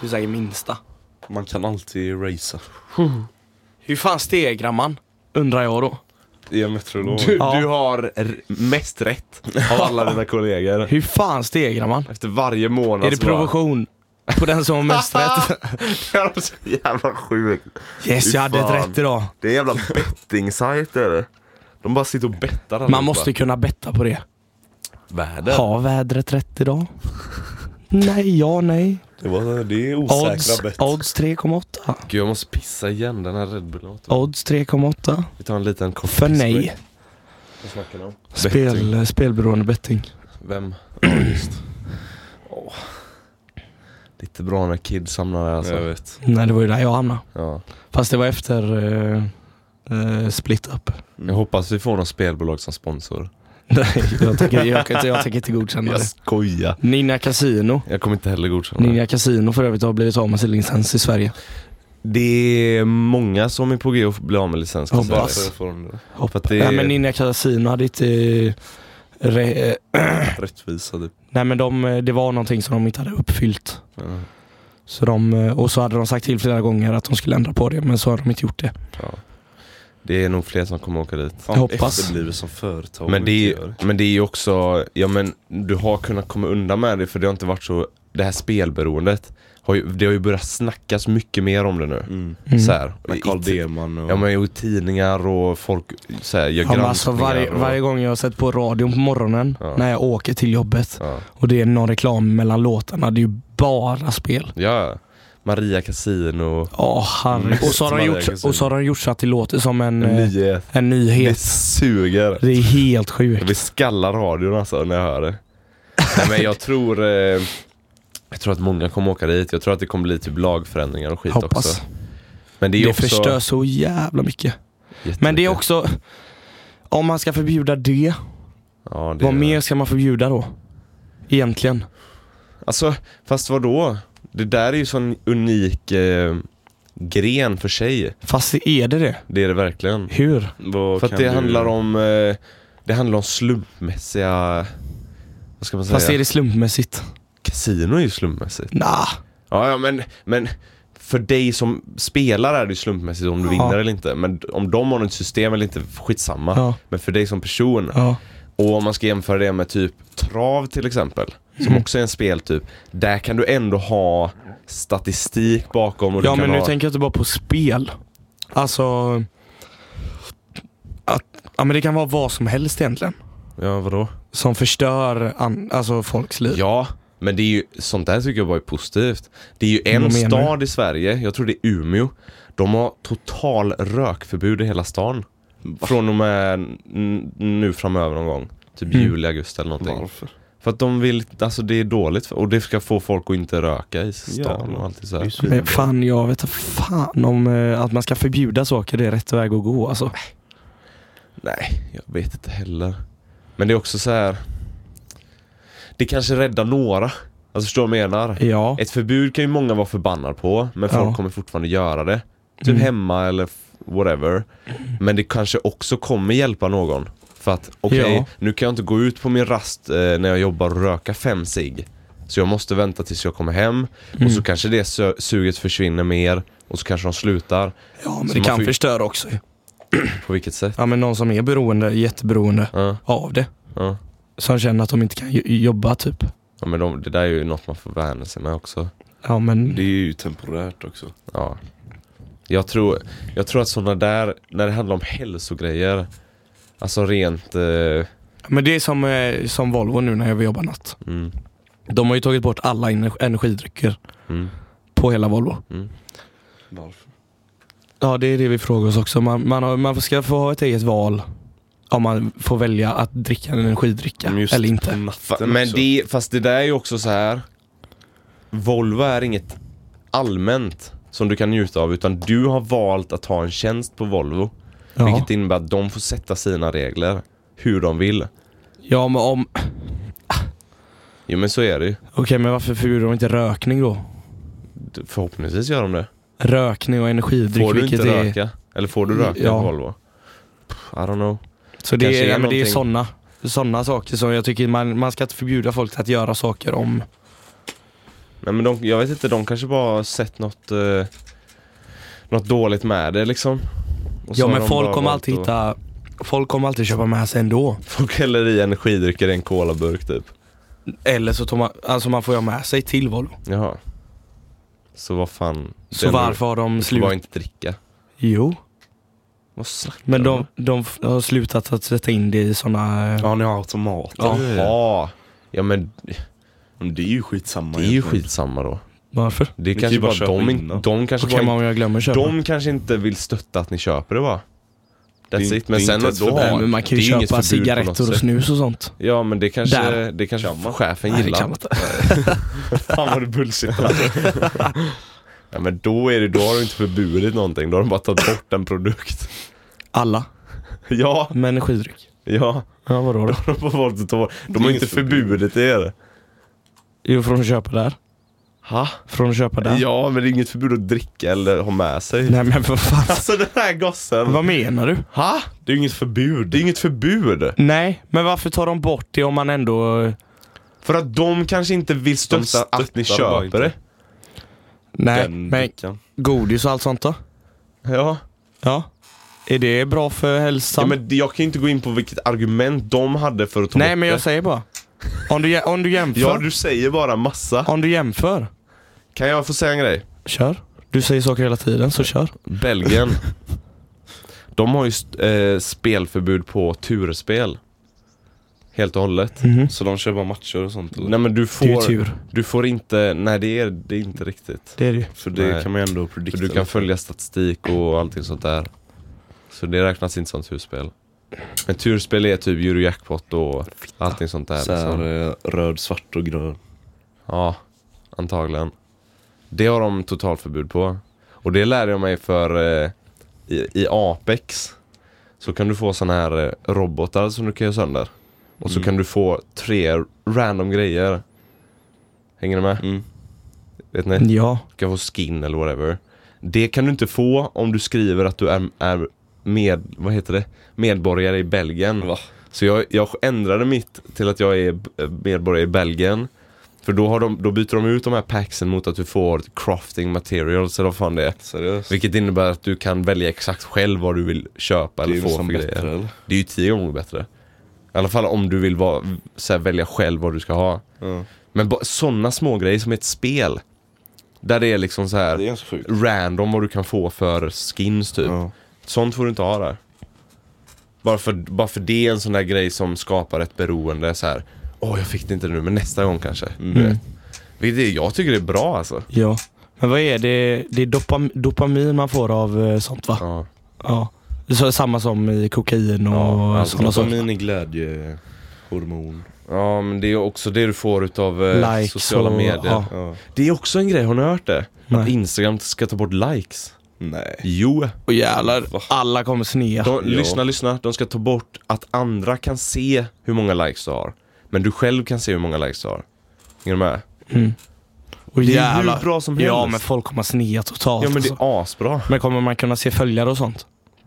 S2: Du säger minsta.
S1: Man kan alltid racea.
S2: Hur fan stegrar man? Undrar jag då.
S1: Det är meteorolog.
S3: Du,
S2: Ja.
S3: du har r- mest rätt av alla dina kollegor.
S2: Hur fan stegrar man?
S3: Efter varje månad
S2: Är det
S3: så bara-
S2: provision på den som har mest rätt?
S3: Det är så jävla sjukt.
S2: Yes, jag hade
S3: fan.
S2: ett rätt idag.
S3: Det är en jävla betting-sajt är det. De bara sitter och bettar allihopa.
S2: Man måste kunna betta på det.
S3: Världen.
S2: Har vädret rätt idag? Nej, ja, nej.
S1: Det, var, det är osäkra
S2: Odds,
S1: bett.
S2: odds 3,8.
S3: Gud jag måste pissa igen den här Red Bullen. åt mig.
S2: Odds 3,8.
S3: Vi tar en liten kort
S2: För
S3: piss
S2: nej.
S3: break. Vad snackar ni om?
S2: Spel, eh, spelberoende betting.
S3: Vem? Ja just. Åh. Lite bra när kids hamnar där alltså.
S1: Jag vet.
S2: Nej, det var ju där jag hamnade.
S3: Ja.
S2: Fast det var efter eh, eh, split up.
S1: Mm.
S3: Jag hoppas vi får något spelbolag som sponsor.
S2: Nej, jag tänker, jag, kan inte- jag tänker inte godkänna det.
S3: skojar.
S2: Ninja Casino.
S3: Jag kommer inte heller godkänna det.
S2: Ninja Casino för övrigt har blivit av med sin licens i Sverige.
S3: Det är många som är på G att bli av med licens. kan jag säga.
S2: Hoppas.
S1: Varför får de det?
S3: För att det
S2: Nej
S3: är
S2: men Ninja Casino hade inte... eh, Re, eh,
S1: Rättvisa typ.
S2: nej men de, eh, det var någonting som de inte hade uppfyllt.
S1: Ja.
S2: Så de, eh, och så hade de sagt till flera gånger att de skulle ändra på det men så har de inte gjort det.
S3: det är nog fler som kommer åka dit.
S1: Fan,
S2: hoppas.
S1: Efterblivet som företag.
S3: Men det,
S1: inte gör.
S3: är, men det är ju också, ja men du har kunnat komma undan med det för det har inte varit så, det här spelberoendet, har ju, det har ju börjat snackas mycket mer om det nu.
S1: Mm.
S2: Mm.
S3: Så här,
S1: Med
S3: i-
S1: Carl
S3: i-
S1: Deman och...
S3: Ja men i tidningar och folk så här, gör
S2: Ja, men
S3: granskningar
S2: alltså varje,
S3: och,
S2: varje gång jag har sett på radion på morgonen
S3: Ja.
S2: när jag åker till jobbet
S3: ja.
S2: och det är någon reklam mellan låtarna, det är ju bara spel.
S3: ja, Maria Casino.
S2: Ja, herregud. Och så har de
S3: Maria
S2: gjort,
S3: Casino.
S2: och så har de gjort så att det låter som en, eh,
S3: Nyhet.
S2: en
S3: Det
S2: nyhet.
S3: suger.
S2: Det är helt
S3: Jag
S2: sjukt.
S3: vill skalla radion alltså när jag hör det. Nej men jag tror eh, Jag tror att många kommer åka dit. Jag tror att det kommer bli typ lagförändringar och skit
S2: Hoppas.
S3: också. Men det är
S2: Det
S3: också
S2: förstör så jävla mycket. Men det är
S3: jättemycket.
S2: också, om man ska förbjuda det,
S3: Ja, det
S2: vad
S3: är-
S2: mer ska man förbjuda då? Egentligen.
S3: Alltså, fast vad då? Det där är ju sån unik eh, gren för sig.
S2: Fast är det det?
S3: Det är det verkligen.
S2: Hur?
S1: Vad
S3: För att
S1: kan
S3: det
S1: du-
S3: handlar om eh, Det handlar om slumpmässiga Vad ska man säga?
S2: Fast är det slumpmässigt?
S3: Casino är ju slumpmässigt.
S2: Nah.
S3: Ja, ja men, men för dig som spelar är det ju slumpmässigt om du
S2: Ja.
S3: vinner eller inte. Men om de har något system eller inte, skitsamma.
S2: Ja.
S3: Men för dig som person,
S2: Ja.
S3: och om man ska jämföra det med typ trav till exempel, som
S2: Mm.
S3: också är en speltyp. Där kan du ändå ha statistik bakom och du
S2: Ja
S3: kan
S2: men nu
S3: ha...
S2: tänker jag inte bara på spel. Alltså... Att, ja men det kan vara vad som helst egentligen.
S3: Ja, vadå?
S2: Som förstör an, alltså folks liv.
S3: Ja, men det är ju, sånt där tycker jag bara är positivt. Det är ju en
S2: Vad menar du?
S3: stad i Sverige, jag tror det är Umeå. De har total rökförbud i hela stan. Från och med n- nu framöver någon gång. Typ
S2: Mm.
S3: juli, augusti eller någonting.
S1: Varför?
S3: För att de vill, alltså det är dåligt för, och det ska få folk att inte röka i stan
S1: Ja,
S3: och allt det så
S1: Det är
S3: här.
S1: ju
S2: Men fan jag vet inte fan om eh, att man ska förbjuda saker det är rätt väg att gå alltså.
S3: Nej, jag vet inte heller. Men det är också så här. Det kanske räddar några. Alltså förstår du vad jag menar?
S2: Ja.
S3: Ett förbud kan ju många vara förbannade på, men folk
S2: Ja.
S3: kommer fortfarande göra det. Typ
S2: Mm.
S3: hemma eller f- whatever. Men det kanske också kommer hjälpa någon. För att, okej,
S2: Ja.
S3: nu kan jag inte gå ut på min rast eh, när jag jobbar och röka fem cigg. Så jag måste vänta tills jag kommer hem och
S2: Mm.
S3: så kanske det su- suget försvinner mer och så kanske de slutar.
S2: Ja men
S3: Så
S2: det
S3: man
S2: kan
S3: får ju-
S2: förstöra också
S3: På vilket sätt?
S2: Ja men någon som är beroende, jätteberoende
S3: Ja,
S2: av det.
S3: ja.
S2: Som känner att de inte kan jo- jobba typ.
S3: ja men de, det där är ju något man får vänja sig med också.
S2: Ja men
S1: Det är ju temporärt också.
S3: Ja. Jag tror, jag tror att sådana där, när det handlar om hälsogrejer, alltså rent... Eh,
S2: Men det är som, eh, som Volvo nu när jag vill jobba natt.
S3: mm,
S2: De har ju tagit bort alla ener- energidrycker
S3: mm.
S2: på hela Volvo.
S1: Varför?
S2: Ja det är det vi frågar oss också. Man, man, har, man ska få ha ett eget val om man får välja att dricka en energidricka
S3: Mm,
S1: Men just
S2: eller
S1: på
S2: inte.
S3: Fa-
S1: natten
S3: Men
S1: också.
S3: det, fast det där är ju också så här Volvo är inget allmänt som du kan njuta av utan du har valt att ha en tjänst på Volvo.
S2: Ja.
S3: Vilket innebär att de får sätta sina regler hur de vill.
S2: ja men om, okej
S3: Jo men så är det ju.
S2: men varför förbjuder de inte rökning då?
S3: D- Förhoppningsvis gör de det.
S2: Rökning och energidryck
S3: Får du
S2: vilket
S3: inte
S2: är...
S3: röka? Eller får du röka
S2: Ja.
S3: på Volvo? Pff, I don't know.
S2: Så det
S3: Kanske
S2: är,
S3: är
S2: ja, men det är
S3: någonting-
S2: sådana såna saker som jag tycker man, man ska inte förbjuda folk att göra saker om.
S3: Nej men de, jag vet inte, de kanske bara har sett något, eh, något dåligt med det liksom. Och så
S2: Ja
S3: har
S2: men
S3: de
S2: folk
S3: bara
S2: kommer
S3: valt
S2: alltid
S3: att-
S2: hitta, folk kommer alltid köpa med sig ändå.
S3: Folk häller i energidrycker i en colaburk typ.
S2: Eller så tar man, alltså man får ju ha med sig till Volvo.
S3: Jaha. Så vad fan.
S2: Så
S3: Det är nog-
S2: varför har de
S3: Du får bara
S2: slutat?
S3: inte dricka.
S2: Jo,
S3: Vad snackar
S2: men de, de f- har slutat att sätta in det i sådana...
S1: Ja, ni har automater.
S3: Jaha. Ja men
S1: Men det är ju skitsamma
S3: det är ju
S1: egentligen.
S3: skitsamma då.
S2: Varför?
S3: Det är
S1: kan
S3: kanske
S1: ju bara
S3: bara
S1: köpa
S3: de, in,
S1: innan.
S3: de kanske
S2: Okej
S3: bara
S2: men om jag glömmer köpa.
S3: De kanske inte vill stötta att ni köper det va?
S1: är
S3: That's
S1: inte-
S3: it, men
S1: det är
S3: sen
S1: inte
S3: att
S1: ett
S3: då
S1: förbud.
S2: Nej, men man kan ju
S3: det är inget
S2: köpa
S3: förbud på något
S2: cigaretter och
S3: sätt.
S2: snus och sånt.
S3: Ja men det kanske,
S2: Där.
S3: det kanske chefen
S2: Nej, det
S3: gillar.
S2: kan man inte.
S3: Fan vad du bullshittar. ja men då är det, då har du inte förbjudit någonting, då har de bara tagit bort en produkt.
S2: Alla.
S3: ja,
S2: Med energidryck.
S3: ja.
S2: Ja vadå då?
S3: De har valt att ta bort, de har
S1: Inget
S3: inte
S1: förbud.
S3: förbjudit er.
S2: Jo från att köpa där.
S3: Ha?
S2: Från att köpa där.
S3: Ja, men det är inget förbud att dricka eller ha med sig.
S2: Nej men för fan.
S3: Alltså den här gossen.
S2: Vad menar du?
S3: Ha?
S1: Det är ju inget förbud.
S3: Det är inget förbud.
S2: Nej, men varför tar de bort det om man ändå...
S3: För att de kanske inte vill stötta
S1: stöttar
S3: att ni
S1: det bara
S3: köper
S1: inte.
S3: det.
S2: Nej,
S1: Den
S2: men
S1: veckan.
S2: godis och allt sånt då?
S3: Ja.
S2: Ja. Är det bra för hälsan?
S3: ja, men det- jag kan ju inte gå in på vilket argument de hade för att ta
S2: Nej
S3: bort
S2: men jag
S3: det.
S2: säger bara. Om du, jä- om du jämför.
S3: Ja, du säger bara massa.
S2: Om du jämför.
S3: Kan jag få säga en grej?
S2: Kör. Du säger saker hela tiden, så kör.
S3: Belgien. de har ju st- eh, spelförbud på turspel. Helt och hållet.
S2: Mhm.
S3: Så de kör bara matcher och sånt? Eller?
S1: Nej men du får,
S2: Det är ju tur.
S3: Du får inte, nej det är, det är inte riktigt.
S2: Det är det ju.
S1: för det
S3: Nej.
S1: kan man ju ändå
S3: För
S1: predikta.
S3: du kan följa statistik och allting sånt där. Så det räknas inte som turspel. Men turspel är typ Eurojackpot och allting sånt där.
S1: så här,
S3: Liksom.
S1: eh, röd, svart och grön.
S3: Ja, antagligen. Det har de totalförbud på. Och det lärde jag mig för eh, i, i Apex. Så kan du få såna här eh, robotar som du kan göra sönder. Och så
S1: Mm.
S3: kan du få tre random grejer. Hänger ni med?
S1: Mm.
S3: Vet ni?
S2: Ja.
S3: du kan få skin eller whatever. Det kan du inte få om du skriver att du är, är med, vad heter det? medborgare i Belgien.
S1: Va?
S3: Så jag, jag ändrade mitt till att jag är b- medborgare i Belgien. För då, har de, då byter de ut de här packsen mot att du får crafting materials eller vad fan det är.
S1: Seriöst?
S3: Vilket innebär att du kan välja exakt själv vad du vill köpa
S1: det är
S3: eller
S1: ju
S3: få för
S1: nästan
S3: grejer.
S1: bättre eller?
S3: Det är ju tio gånger bättre. I alla fall om du vill va, så här, välja själv vad du ska ha.
S1: Ja.
S3: Men ba, sådana små grejer som ett spel. Där det är liksom så här
S1: Det är ganska sjukt.
S3: random vad du kan få för skins typ.
S1: Ja.
S3: Sånt får du inte ha där. Bara för, bara för det är en sån där grej som skapar ett beroende så här. Åh jag fick det inte nu men nästa gång kanske.
S2: Mm.
S3: Du vet. Vilket är- jag tycker det är bra alltså.
S2: Ja. Men vad är det? Det är dopam- dopamin man får av eh, sånt va?
S3: Ja.
S2: Ja. Så, samma som i kokain och
S3: Ja, allt
S2: sådana saker.
S1: Dopamin är glädjehormon.
S3: ja men det är också det du får utav eh,
S2: Likes
S3: sociala
S2: och-
S3: medier.
S2: ja.
S1: Ja.
S3: Det är också en grej, har ni hört det? Att
S2: Nej.
S3: Instagram ska ta bort likes.
S1: Nej.
S3: Jo.
S2: Och jävlar, alla kommer snea.
S3: De,
S1: Ja.
S3: Lyssna, lyssna. De ska ta bort att andra kan se hur många likes du har. Men du själv kan se hur många likes du har. Hänger du med?
S2: Och
S3: Det är
S2: jävlar.
S3: hur bra som helst.
S2: Ja men folk kommer snea totalt.
S3: Ja men det
S2: alltså.
S3: är asbra.
S2: men kommer man kunna se följare och sånt?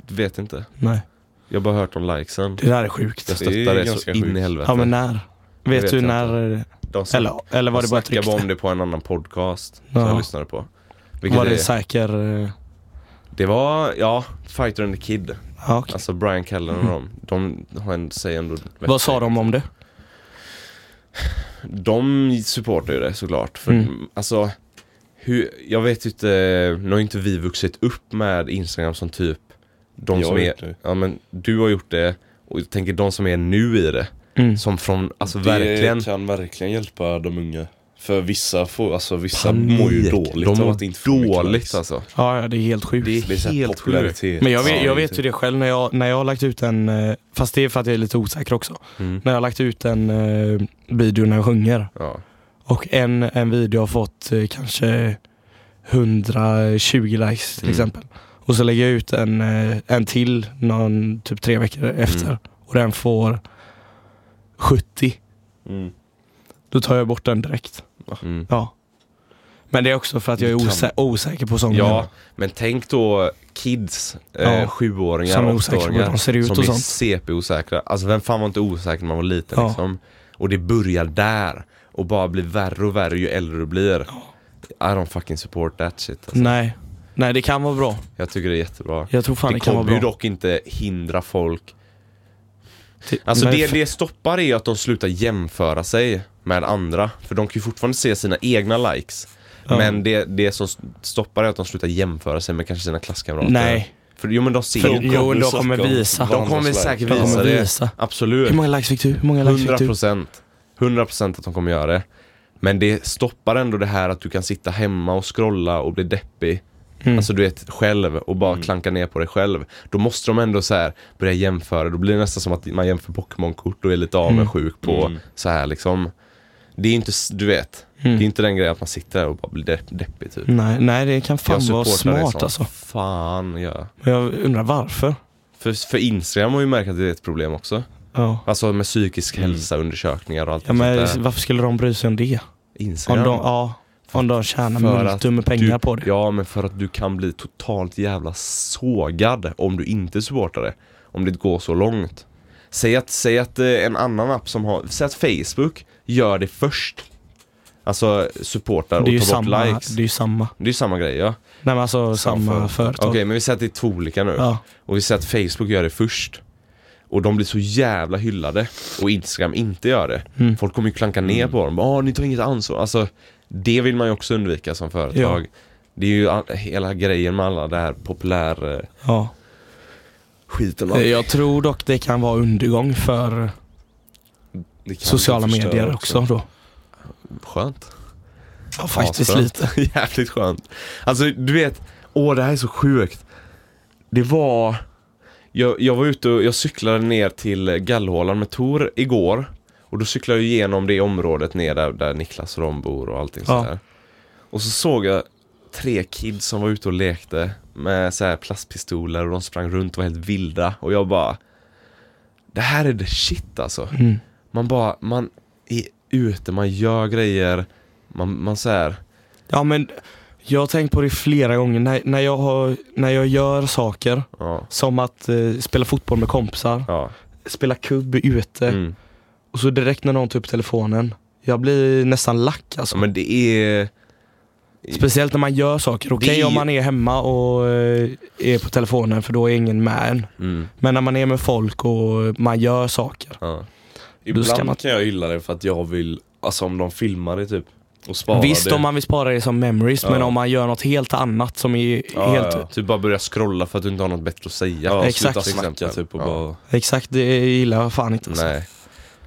S3: Vet inte.
S2: Nej.
S3: Jag har bara hört om likesen.
S2: Det där är sjukt.
S3: Jag
S1: Det är
S3: stöttar det, så
S1: ganska
S3: in
S1: sjukt.
S3: i helvete.
S2: Ja men när? Vet,
S3: vet
S2: du
S3: jag
S2: när?
S3: De snack-
S2: Eller, eller var
S3: de
S2: det bara ett
S3: snackade bara
S2: rykte?
S3: om det på en annan podcast som
S2: Ja.
S3: jag lyssnade på. Vilket
S2: Var
S3: det,
S2: det
S3: det,
S2: säker... eh,
S3: var, ja, Fighter and the Kid.
S2: Ja, okej.
S3: Alltså Brian Callen och dem. De har en, säger ändå
S2: Mm. Vad sa de om det?
S3: De supportar ju det såklart. För
S2: Mm.
S3: alltså, hur, jag vet ju inte, nu har ju inte vi vuxit upp med Instagram som typ de
S1: Jag
S3: som
S1: har
S3: är,
S1: gjort det.
S3: ja men du har gjort det och jag tänker de som är nu i det.
S2: Mm.
S3: Som från, alltså verkligen.
S1: Det kan verkligen hjälpa de unga. För vissa får, alltså vissa
S3: panik.
S1: mår ju dåligt
S3: De
S1: av
S3: mår
S1: att inte få mycket
S3: dåligt
S1: likes.
S3: alltså.
S2: Ja, ja, det är helt sjukt.
S3: Det är,
S1: Det är så här
S3: helt sjukt.
S1: popularitet.
S2: Men jag vet,
S1: Ja,
S2: jag vet ju det själv när jag, när jag har lagt ut en, eh, fast det är för att jag är lite osäker också.
S3: Mm.
S2: När jag har lagt ut en eh, video när jag sjunger
S3: Ja.
S2: och en, en video har fått eh, kanske 120 likes till
S3: Mm.
S2: exempel. Och så lägger jag ut en, eh, en till någon, typ tre veckor efter
S3: Mm.
S2: och den får 70.
S1: Mm.
S2: Då tar jag bort den direkt.
S3: Mm.
S2: Ja. Men det är också för att jag är
S1: Du kan-
S2: osä- osäker på sången.
S3: ja, men tänk då kids,
S2: Ja.
S3: eh, sjuåringar,
S2: Som är osäkra på hur
S3: åttaåringar
S2: de ser ut
S3: som
S2: och
S3: är
S2: sånt.
S3: CP-osäkra. Alltså vem fan var inte osäker när man var liten
S2: Ja.
S3: liksom? Och det börjar där och bara blir värre och värre ju äldre du blir. I don't fucking support that shit. Alltså.
S2: Nej. Nej, det kan vara bra.
S3: Jag tycker det är jättebra.
S2: Jag tror fan det,
S3: det
S2: kan vara
S3: kommer ju
S2: bra.
S3: dock inte hindra folk.
S2: Ty-
S3: Alltså
S2: men
S3: det,
S2: f-
S3: det stoppar är ju att de slutar jämföra sig med andra. För de kan ju fortfarande se sina egna likes.
S2: Ja.
S3: Men det, det som stoppar är att de slutar jämföra sig med kanske sina klasskamrater.
S2: Nej.
S3: För, jo men de ser ju
S2: För,
S3: inte.
S2: jo, de
S1: kommer
S2: kommer
S1: söka om-
S2: visa.
S3: De kommer säkert
S2: De
S3: visa
S2: kommer
S3: det.
S2: visa. Hur
S3: Absolut.
S2: många likes fick du? Hur många likes
S3: 100
S2: fick du? Mm.
S3: procent. 100 procent att de kommer göra det. Men det stoppar ändå det här att du kan sitta hemma och scrolla och bli deppig.
S2: Mm.
S3: Alltså du vet, själv och bara klanka ner på dig själv. Då måste de ändå så här börja jämföra. Då blir det nästan som att man jämför Pokémon-kort och är lite
S2: Mm.
S3: avundsjuk på så här liksom. Det är inte, s- du vet.
S2: Mm.
S3: Det är inte den grejen att man sitter där och bara blir depp, deppig typ.
S2: Nej, nej, det kan Mm. fan vara
S3: supportar det
S2: smart
S3: som
S2: alltså.
S3: Fan ja.
S2: Men jag undrar varför.
S3: För, för Instagram har ju märkt att det är ett problem också.
S2: Ja.
S3: Alltså med psykisk hälsa, undersökningar och allt
S2: Mm. Ja,
S3: sånt
S2: men
S3: där.
S2: varför skulle de bry sig om det? Om
S3: Instagram.
S2: de, ja, om de tjänar
S3: För
S2: multum med pengar
S3: du,
S2: på det.
S3: Ja, men för att du kan bli totalt jävla sågad om du inte supportar det. Om det går så långt. Säg att, säg att eh, en annan app som har, säg att Facebook gör det först. Alltså supportar och
S2: det, är ju
S3: tar bort
S2: samma,
S3: likes.
S2: det är ju samma.
S3: Det är ju samma grej ja.
S2: Nej men alltså samma, företag.
S3: Okej, men vi säger att det är två olika nu.
S2: Ja.
S3: Och vi säger att Facebook gör det först. Och de blir så jävla hyllade. Och Instagram inte gör det.
S2: Mm.
S3: Folk kommer ju klanka ner på dem. Ja, ni tar inget ansvar. Alltså, det vill man ju också undvika som företag. Det är ju all, hela grejen med alla det här populär eh,
S2: Ja. Eh,
S3: skiten.
S2: Jag tror dock det kan vara undergång för
S3: det kan
S2: sociala
S3: förstöra
S2: medier också då.
S3: Skönt.
S2: Ja, faktiskt
S3: Hatar.
S2: lite.
S3: Jävligt skönt. Alltså du vet, åh det här är så sjukt. Det var, jag, jag var ute och jag cyklade ner till Gallhålan med Tor igår. Och då cyklade jag igenom det området ner där, där Niklas och de bor och allting
S2: Ja.
S3: sådär. Och så såg jag tre kids som var ute och lekte med så här plastpistoler och de sprang runt och var helt vilda. Och jag bara, det här är the shit alltså.
S2: Mm.
S3: Man bara, man är ute, man gör grejer, man, man så här,
S2: Ja, men jag har tänkt på det flera gånger. När, när, jag, har, när jag gör saker,
S3: ja.
S2: som att eh, spela fotboll med kompisar,
S3: Ja.
S2: spela kubb ute,
S3: Mm.
S2: och så direkt när någon tar upp telefonen, jag blir nästan lack alltså.
S3: ja. Men det är...
S2: Speciellt när man gör saker. Okej
S3: Det är-
S2: om man är hemma och eh, är på telefonen för då är ingen med en.
S3: Mm.
S2: Men när man är med folk och man gör saker.
S3: Ja.
S2: Då ska
S1: Ibland
S2: man-
S1: kan jag hylla det för att jag vill, alltså om de filmar det typ och sparar
S2: Visst
S1: det.
S2: om man vill spara det som memories, men om man gör något helt annat som är
S1: Ja,
S2: helt...
S1: ja.
S3: Typ bara börja scrolla för att du inte har något bättre att säga.
S1: Ja,
S2: Exakt.
S1: sluta snacka typ och
S3: Ja.
S1: bara...
S2: Exakt, det gillar jag fan inte. alltså.
S3: Nej.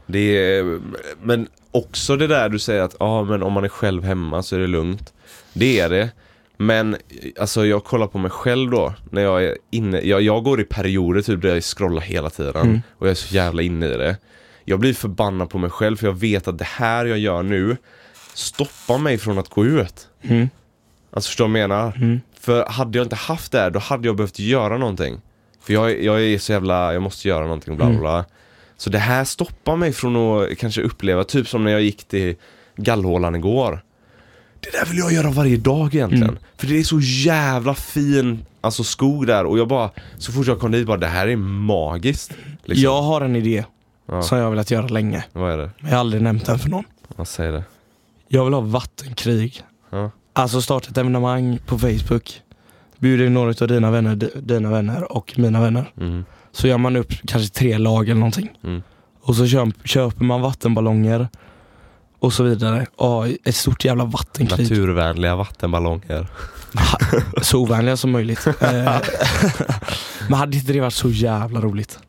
S3: Det är, men också det där du säger att ah, men om man är själv hemma så är det lugnt. Det är det. Men alltså jag kollar på mig själv då när jag är inne. Jag, jag går i perioder typ där jag scrollar hela tiden
S2: Mm.
S3: och jag är så jävla inne i det. Jag blir förbannad på mig själv för jag vet att det här jag gör nu stoppar mig från att gå ut.
S2: Mm.
S3: Alltså förstår du vad jag menar?
S2: Mm.
S3: För hade jag inte haft det här, då hade jag behövt göra någonting. För jag, jag är så jävla, jag måste göra någonting bla bla bla. Så det här stoppar mig från att kanske uppleva, typ som när jag gick till gallhålan igår. Det där vill jag göra varje dag egentligen. För det är så jävla fin alltså, skog där och jag bara, så fort jag kom dit bara, det här är magiskt. Liksom.
S2: Jag har en idé
S3: Ja.
S2: som jag har velat göra länge,
S3: Vad är det?
S2: men jag har aldrig nämnt den för någon.
S3: Vad säger det?
S2: Jag vill ha vattenkrig.
S3: Ja.
S2: Alltså starta ett evenemang på Facebook. Bjuder in några av dina vänner, di- dina vänner och mina vänner.
S3: Mm.
S2: Så gör man upp kanske tre lag eller någonting.
S3: Mm.
S2: Och så köp, köper man vattenballonger och så vidare. Ja, ett stort jävla vattenkrig.
S3: Naturvänliga vattenballonger.
S2: Så ovänliga som möjligt. Eh, Men hade inte det varit så jävla roligt?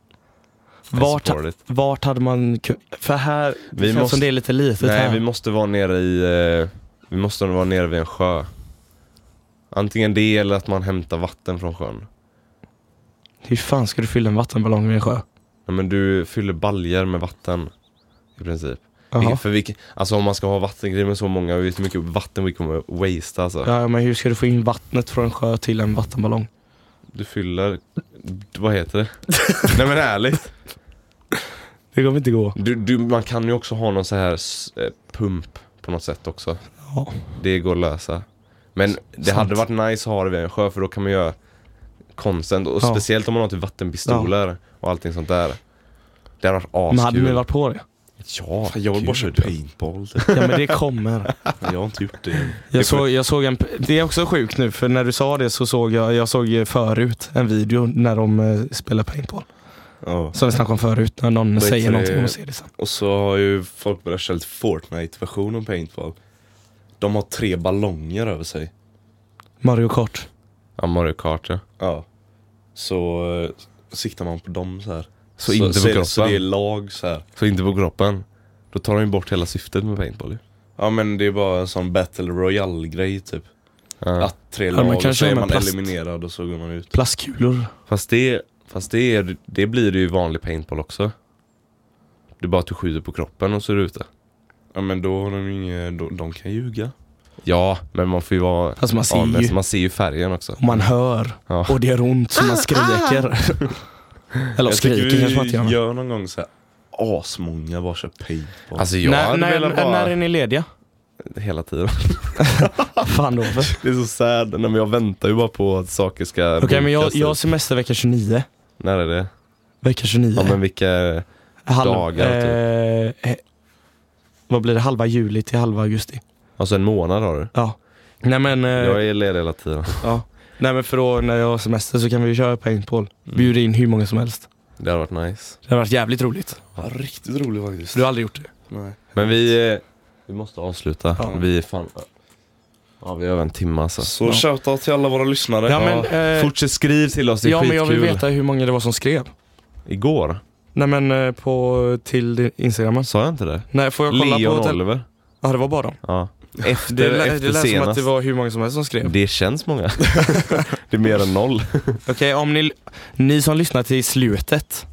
S2: Vart,
S3: I support it.
S2: vart hade man kun- För här, det
S3: Vi
S2: känns
S3: måste-
S2: som det är lite litet
S3: Nej,
S2: här.
S3: vi måste vara nere i eh, Vi måste vara nere vid en sjö Antingen det eller att man hämtar vatten från sjön
S2: Hur fan ska du fylla en vattenballong med en sjö?
S3: Nej, men du fyller baljer med vatten I princip
S2: Jaha.
S3: Vilket- För vilket, Alltså om man ska ha vattengrejer med så många, vi vet hur mycket vatten vi kommer att waste alltså
S2: Ja, men hur ska du få in vattnet från en sjö till en vattenballong?
S3: Du fyller, vad heter det? Nej men ärligt
S2: Det kommer inte gå.
S3: du, du, Man kan ju också ha någon så här s- eh, pump på något sätt också
S2: Ja.
S3: Det går att lösa. Men det
S2: sant.
S3: hade varit nice att ha det vid en sjö för då kan man göra content och
S2: Ja.
S3: speciellt om man har typ vattenpistoler och allting sånt där. Det hade varit
S2: Men hade
S3: askul.
S2: ni varit på det?
S3: Ja,
S1: Fan, jag vill bara köra
S3: gud.
S1: paintball. typ.
S2: Ja men det kommer.
S1: Jag har inte gjort det än.
S2: Jag såg, jag såg en, det är också sjukt nu för när du sa det så såg jag, jag såg ju förut en video när de eh, spelar paintball.
S1: Ja.
S2: Som vi snackade om förut, när någon
S1: Vad
S2: säger
S1: heter
S2: någonting
S1: det?
S2: och ser det sen.
S1: Och så har ju folk börjat köra lite Fortnite-version av paintball. De har tre ballonger över sig.
S2: Mario Kart.
S3: Ja, Mario Kart ja.
S1: Ja. Så eh, siktar man på dem så här.
S3: Så inte på
S1: så, är det- så
S3: kroppen.
S1: det är lag så här.
S3: Så inte på kroppen. Då tar de ju bort hela syftet med paintball ju.
S1: Ja men det är bara en sån battle royale grej typ.
S3: Ja.
S1: Att tre
S2: man
S1: lag,
S2: kan
S1: och så
S2: köra
S1: är
S2: med
S1: man
S2: plast.
S1: eliminerad och så går man ut.
S2: Plastkulor.
S3: Fast, det, fast det, är, det blir det ju i vanlig paintball också. Det är bara att du skjuter på kroppen och så är du ute.
S1: Ja men då har de ju inget, de, de kan ljuga.
S3: Ja, men man får ju vara
S2: Alltså man ser
S3: honest.
S2: ju.
S3: Man ser ju färgen också.
S2: Och man hör.
S3: Ja.
S2: Och det gör ont så man skriker. Eller
S1: Jag tycker
S2: skriker kanske man inte gör. men-
S1: vi gör någon gång så här asmånga bara kör paintball.
S3: Alltså jag
S2: När,
S3: hade
S2: när,
S3: velat vara
S2: när är ni lediga?
S3: hela tiden.
S2: Fan då. Okej
S3: Det är så sad, nej men jag väntar ju bara på att saker ska Okej
S2: men jag, jag har semester vecka 29.
S3: När är det?
S2: Vecka 29.
S3: Ja men vilka... dagar,
S2: Eh, he- vad blir det? Halva juli till halva augusti.
S3: Alltså en månad har du?
S2: Ja. Nej men, eh,
S3: Jag är ledig hela tiden.
S2: ja. Nej men för då när jag har semester så kan vi ju köra paintball. Bjuda in hur många som helst.
S3: Det hade varit nice.
S2: Mm. Det har varit jävligt roligt.
S1: Ja, riktigt rolig faktiskt.
S2: Du har aldrig gjort det?
S1: Nej.
S3: Men vi... eh, Vi måste avsluta.
S2: Ja.
S3: Vi är fan... Ja vi har en timme alltså.
S1: Så shoutout till alla våra lyssnare.
S2: Ja men, eh,
S3: Fortsätt skriv till oss, det är
S2: ja, men jag vill
S3: skitkul.
S2: veta hur många det var som skrev.
S3: Igår?
S2: Nej men eh, på, till Instagramen.
S3: Sa jag inte det?
S2: Nej får jag kolla
S3: Leon
S2: på... tel-
S3: Oliver.
S2: Ja det var bara dem.
S3: Ja. Efter,
S2: Det, lä-
S3: efter
S2: det lät som
S3: senast.
S2: att det var hur många som helst som skrev.
S3: Det känns många. det är mer än noll.
S2: Okej om ni, ni som lyssnar till slutet.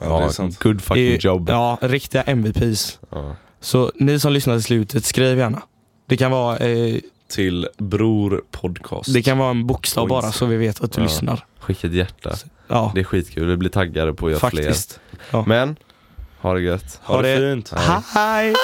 S3: Ja, good fucking
S2: är-
S3: job.
S2: Ja, riktiga MVPs.
S3: Ja.
S2: Så ni som lyssnar till slutet, skriv gärna. Det kan vara, eh,
S1: Till Bror Podcast.
S2: det kan vara en bokstav
S3: Oj,
S2: bara så vi vet att du
S3: Ja.
S2: lyssnar.
S3: Skicka ett hjärta.
S2: Ja,
S3: Det är skitkul, vi blir taggade på att göra
S2: faktiskt.
S3: fler. Men, ha det gött.
S2: Ha det-
S1: fint.
S2: Hej!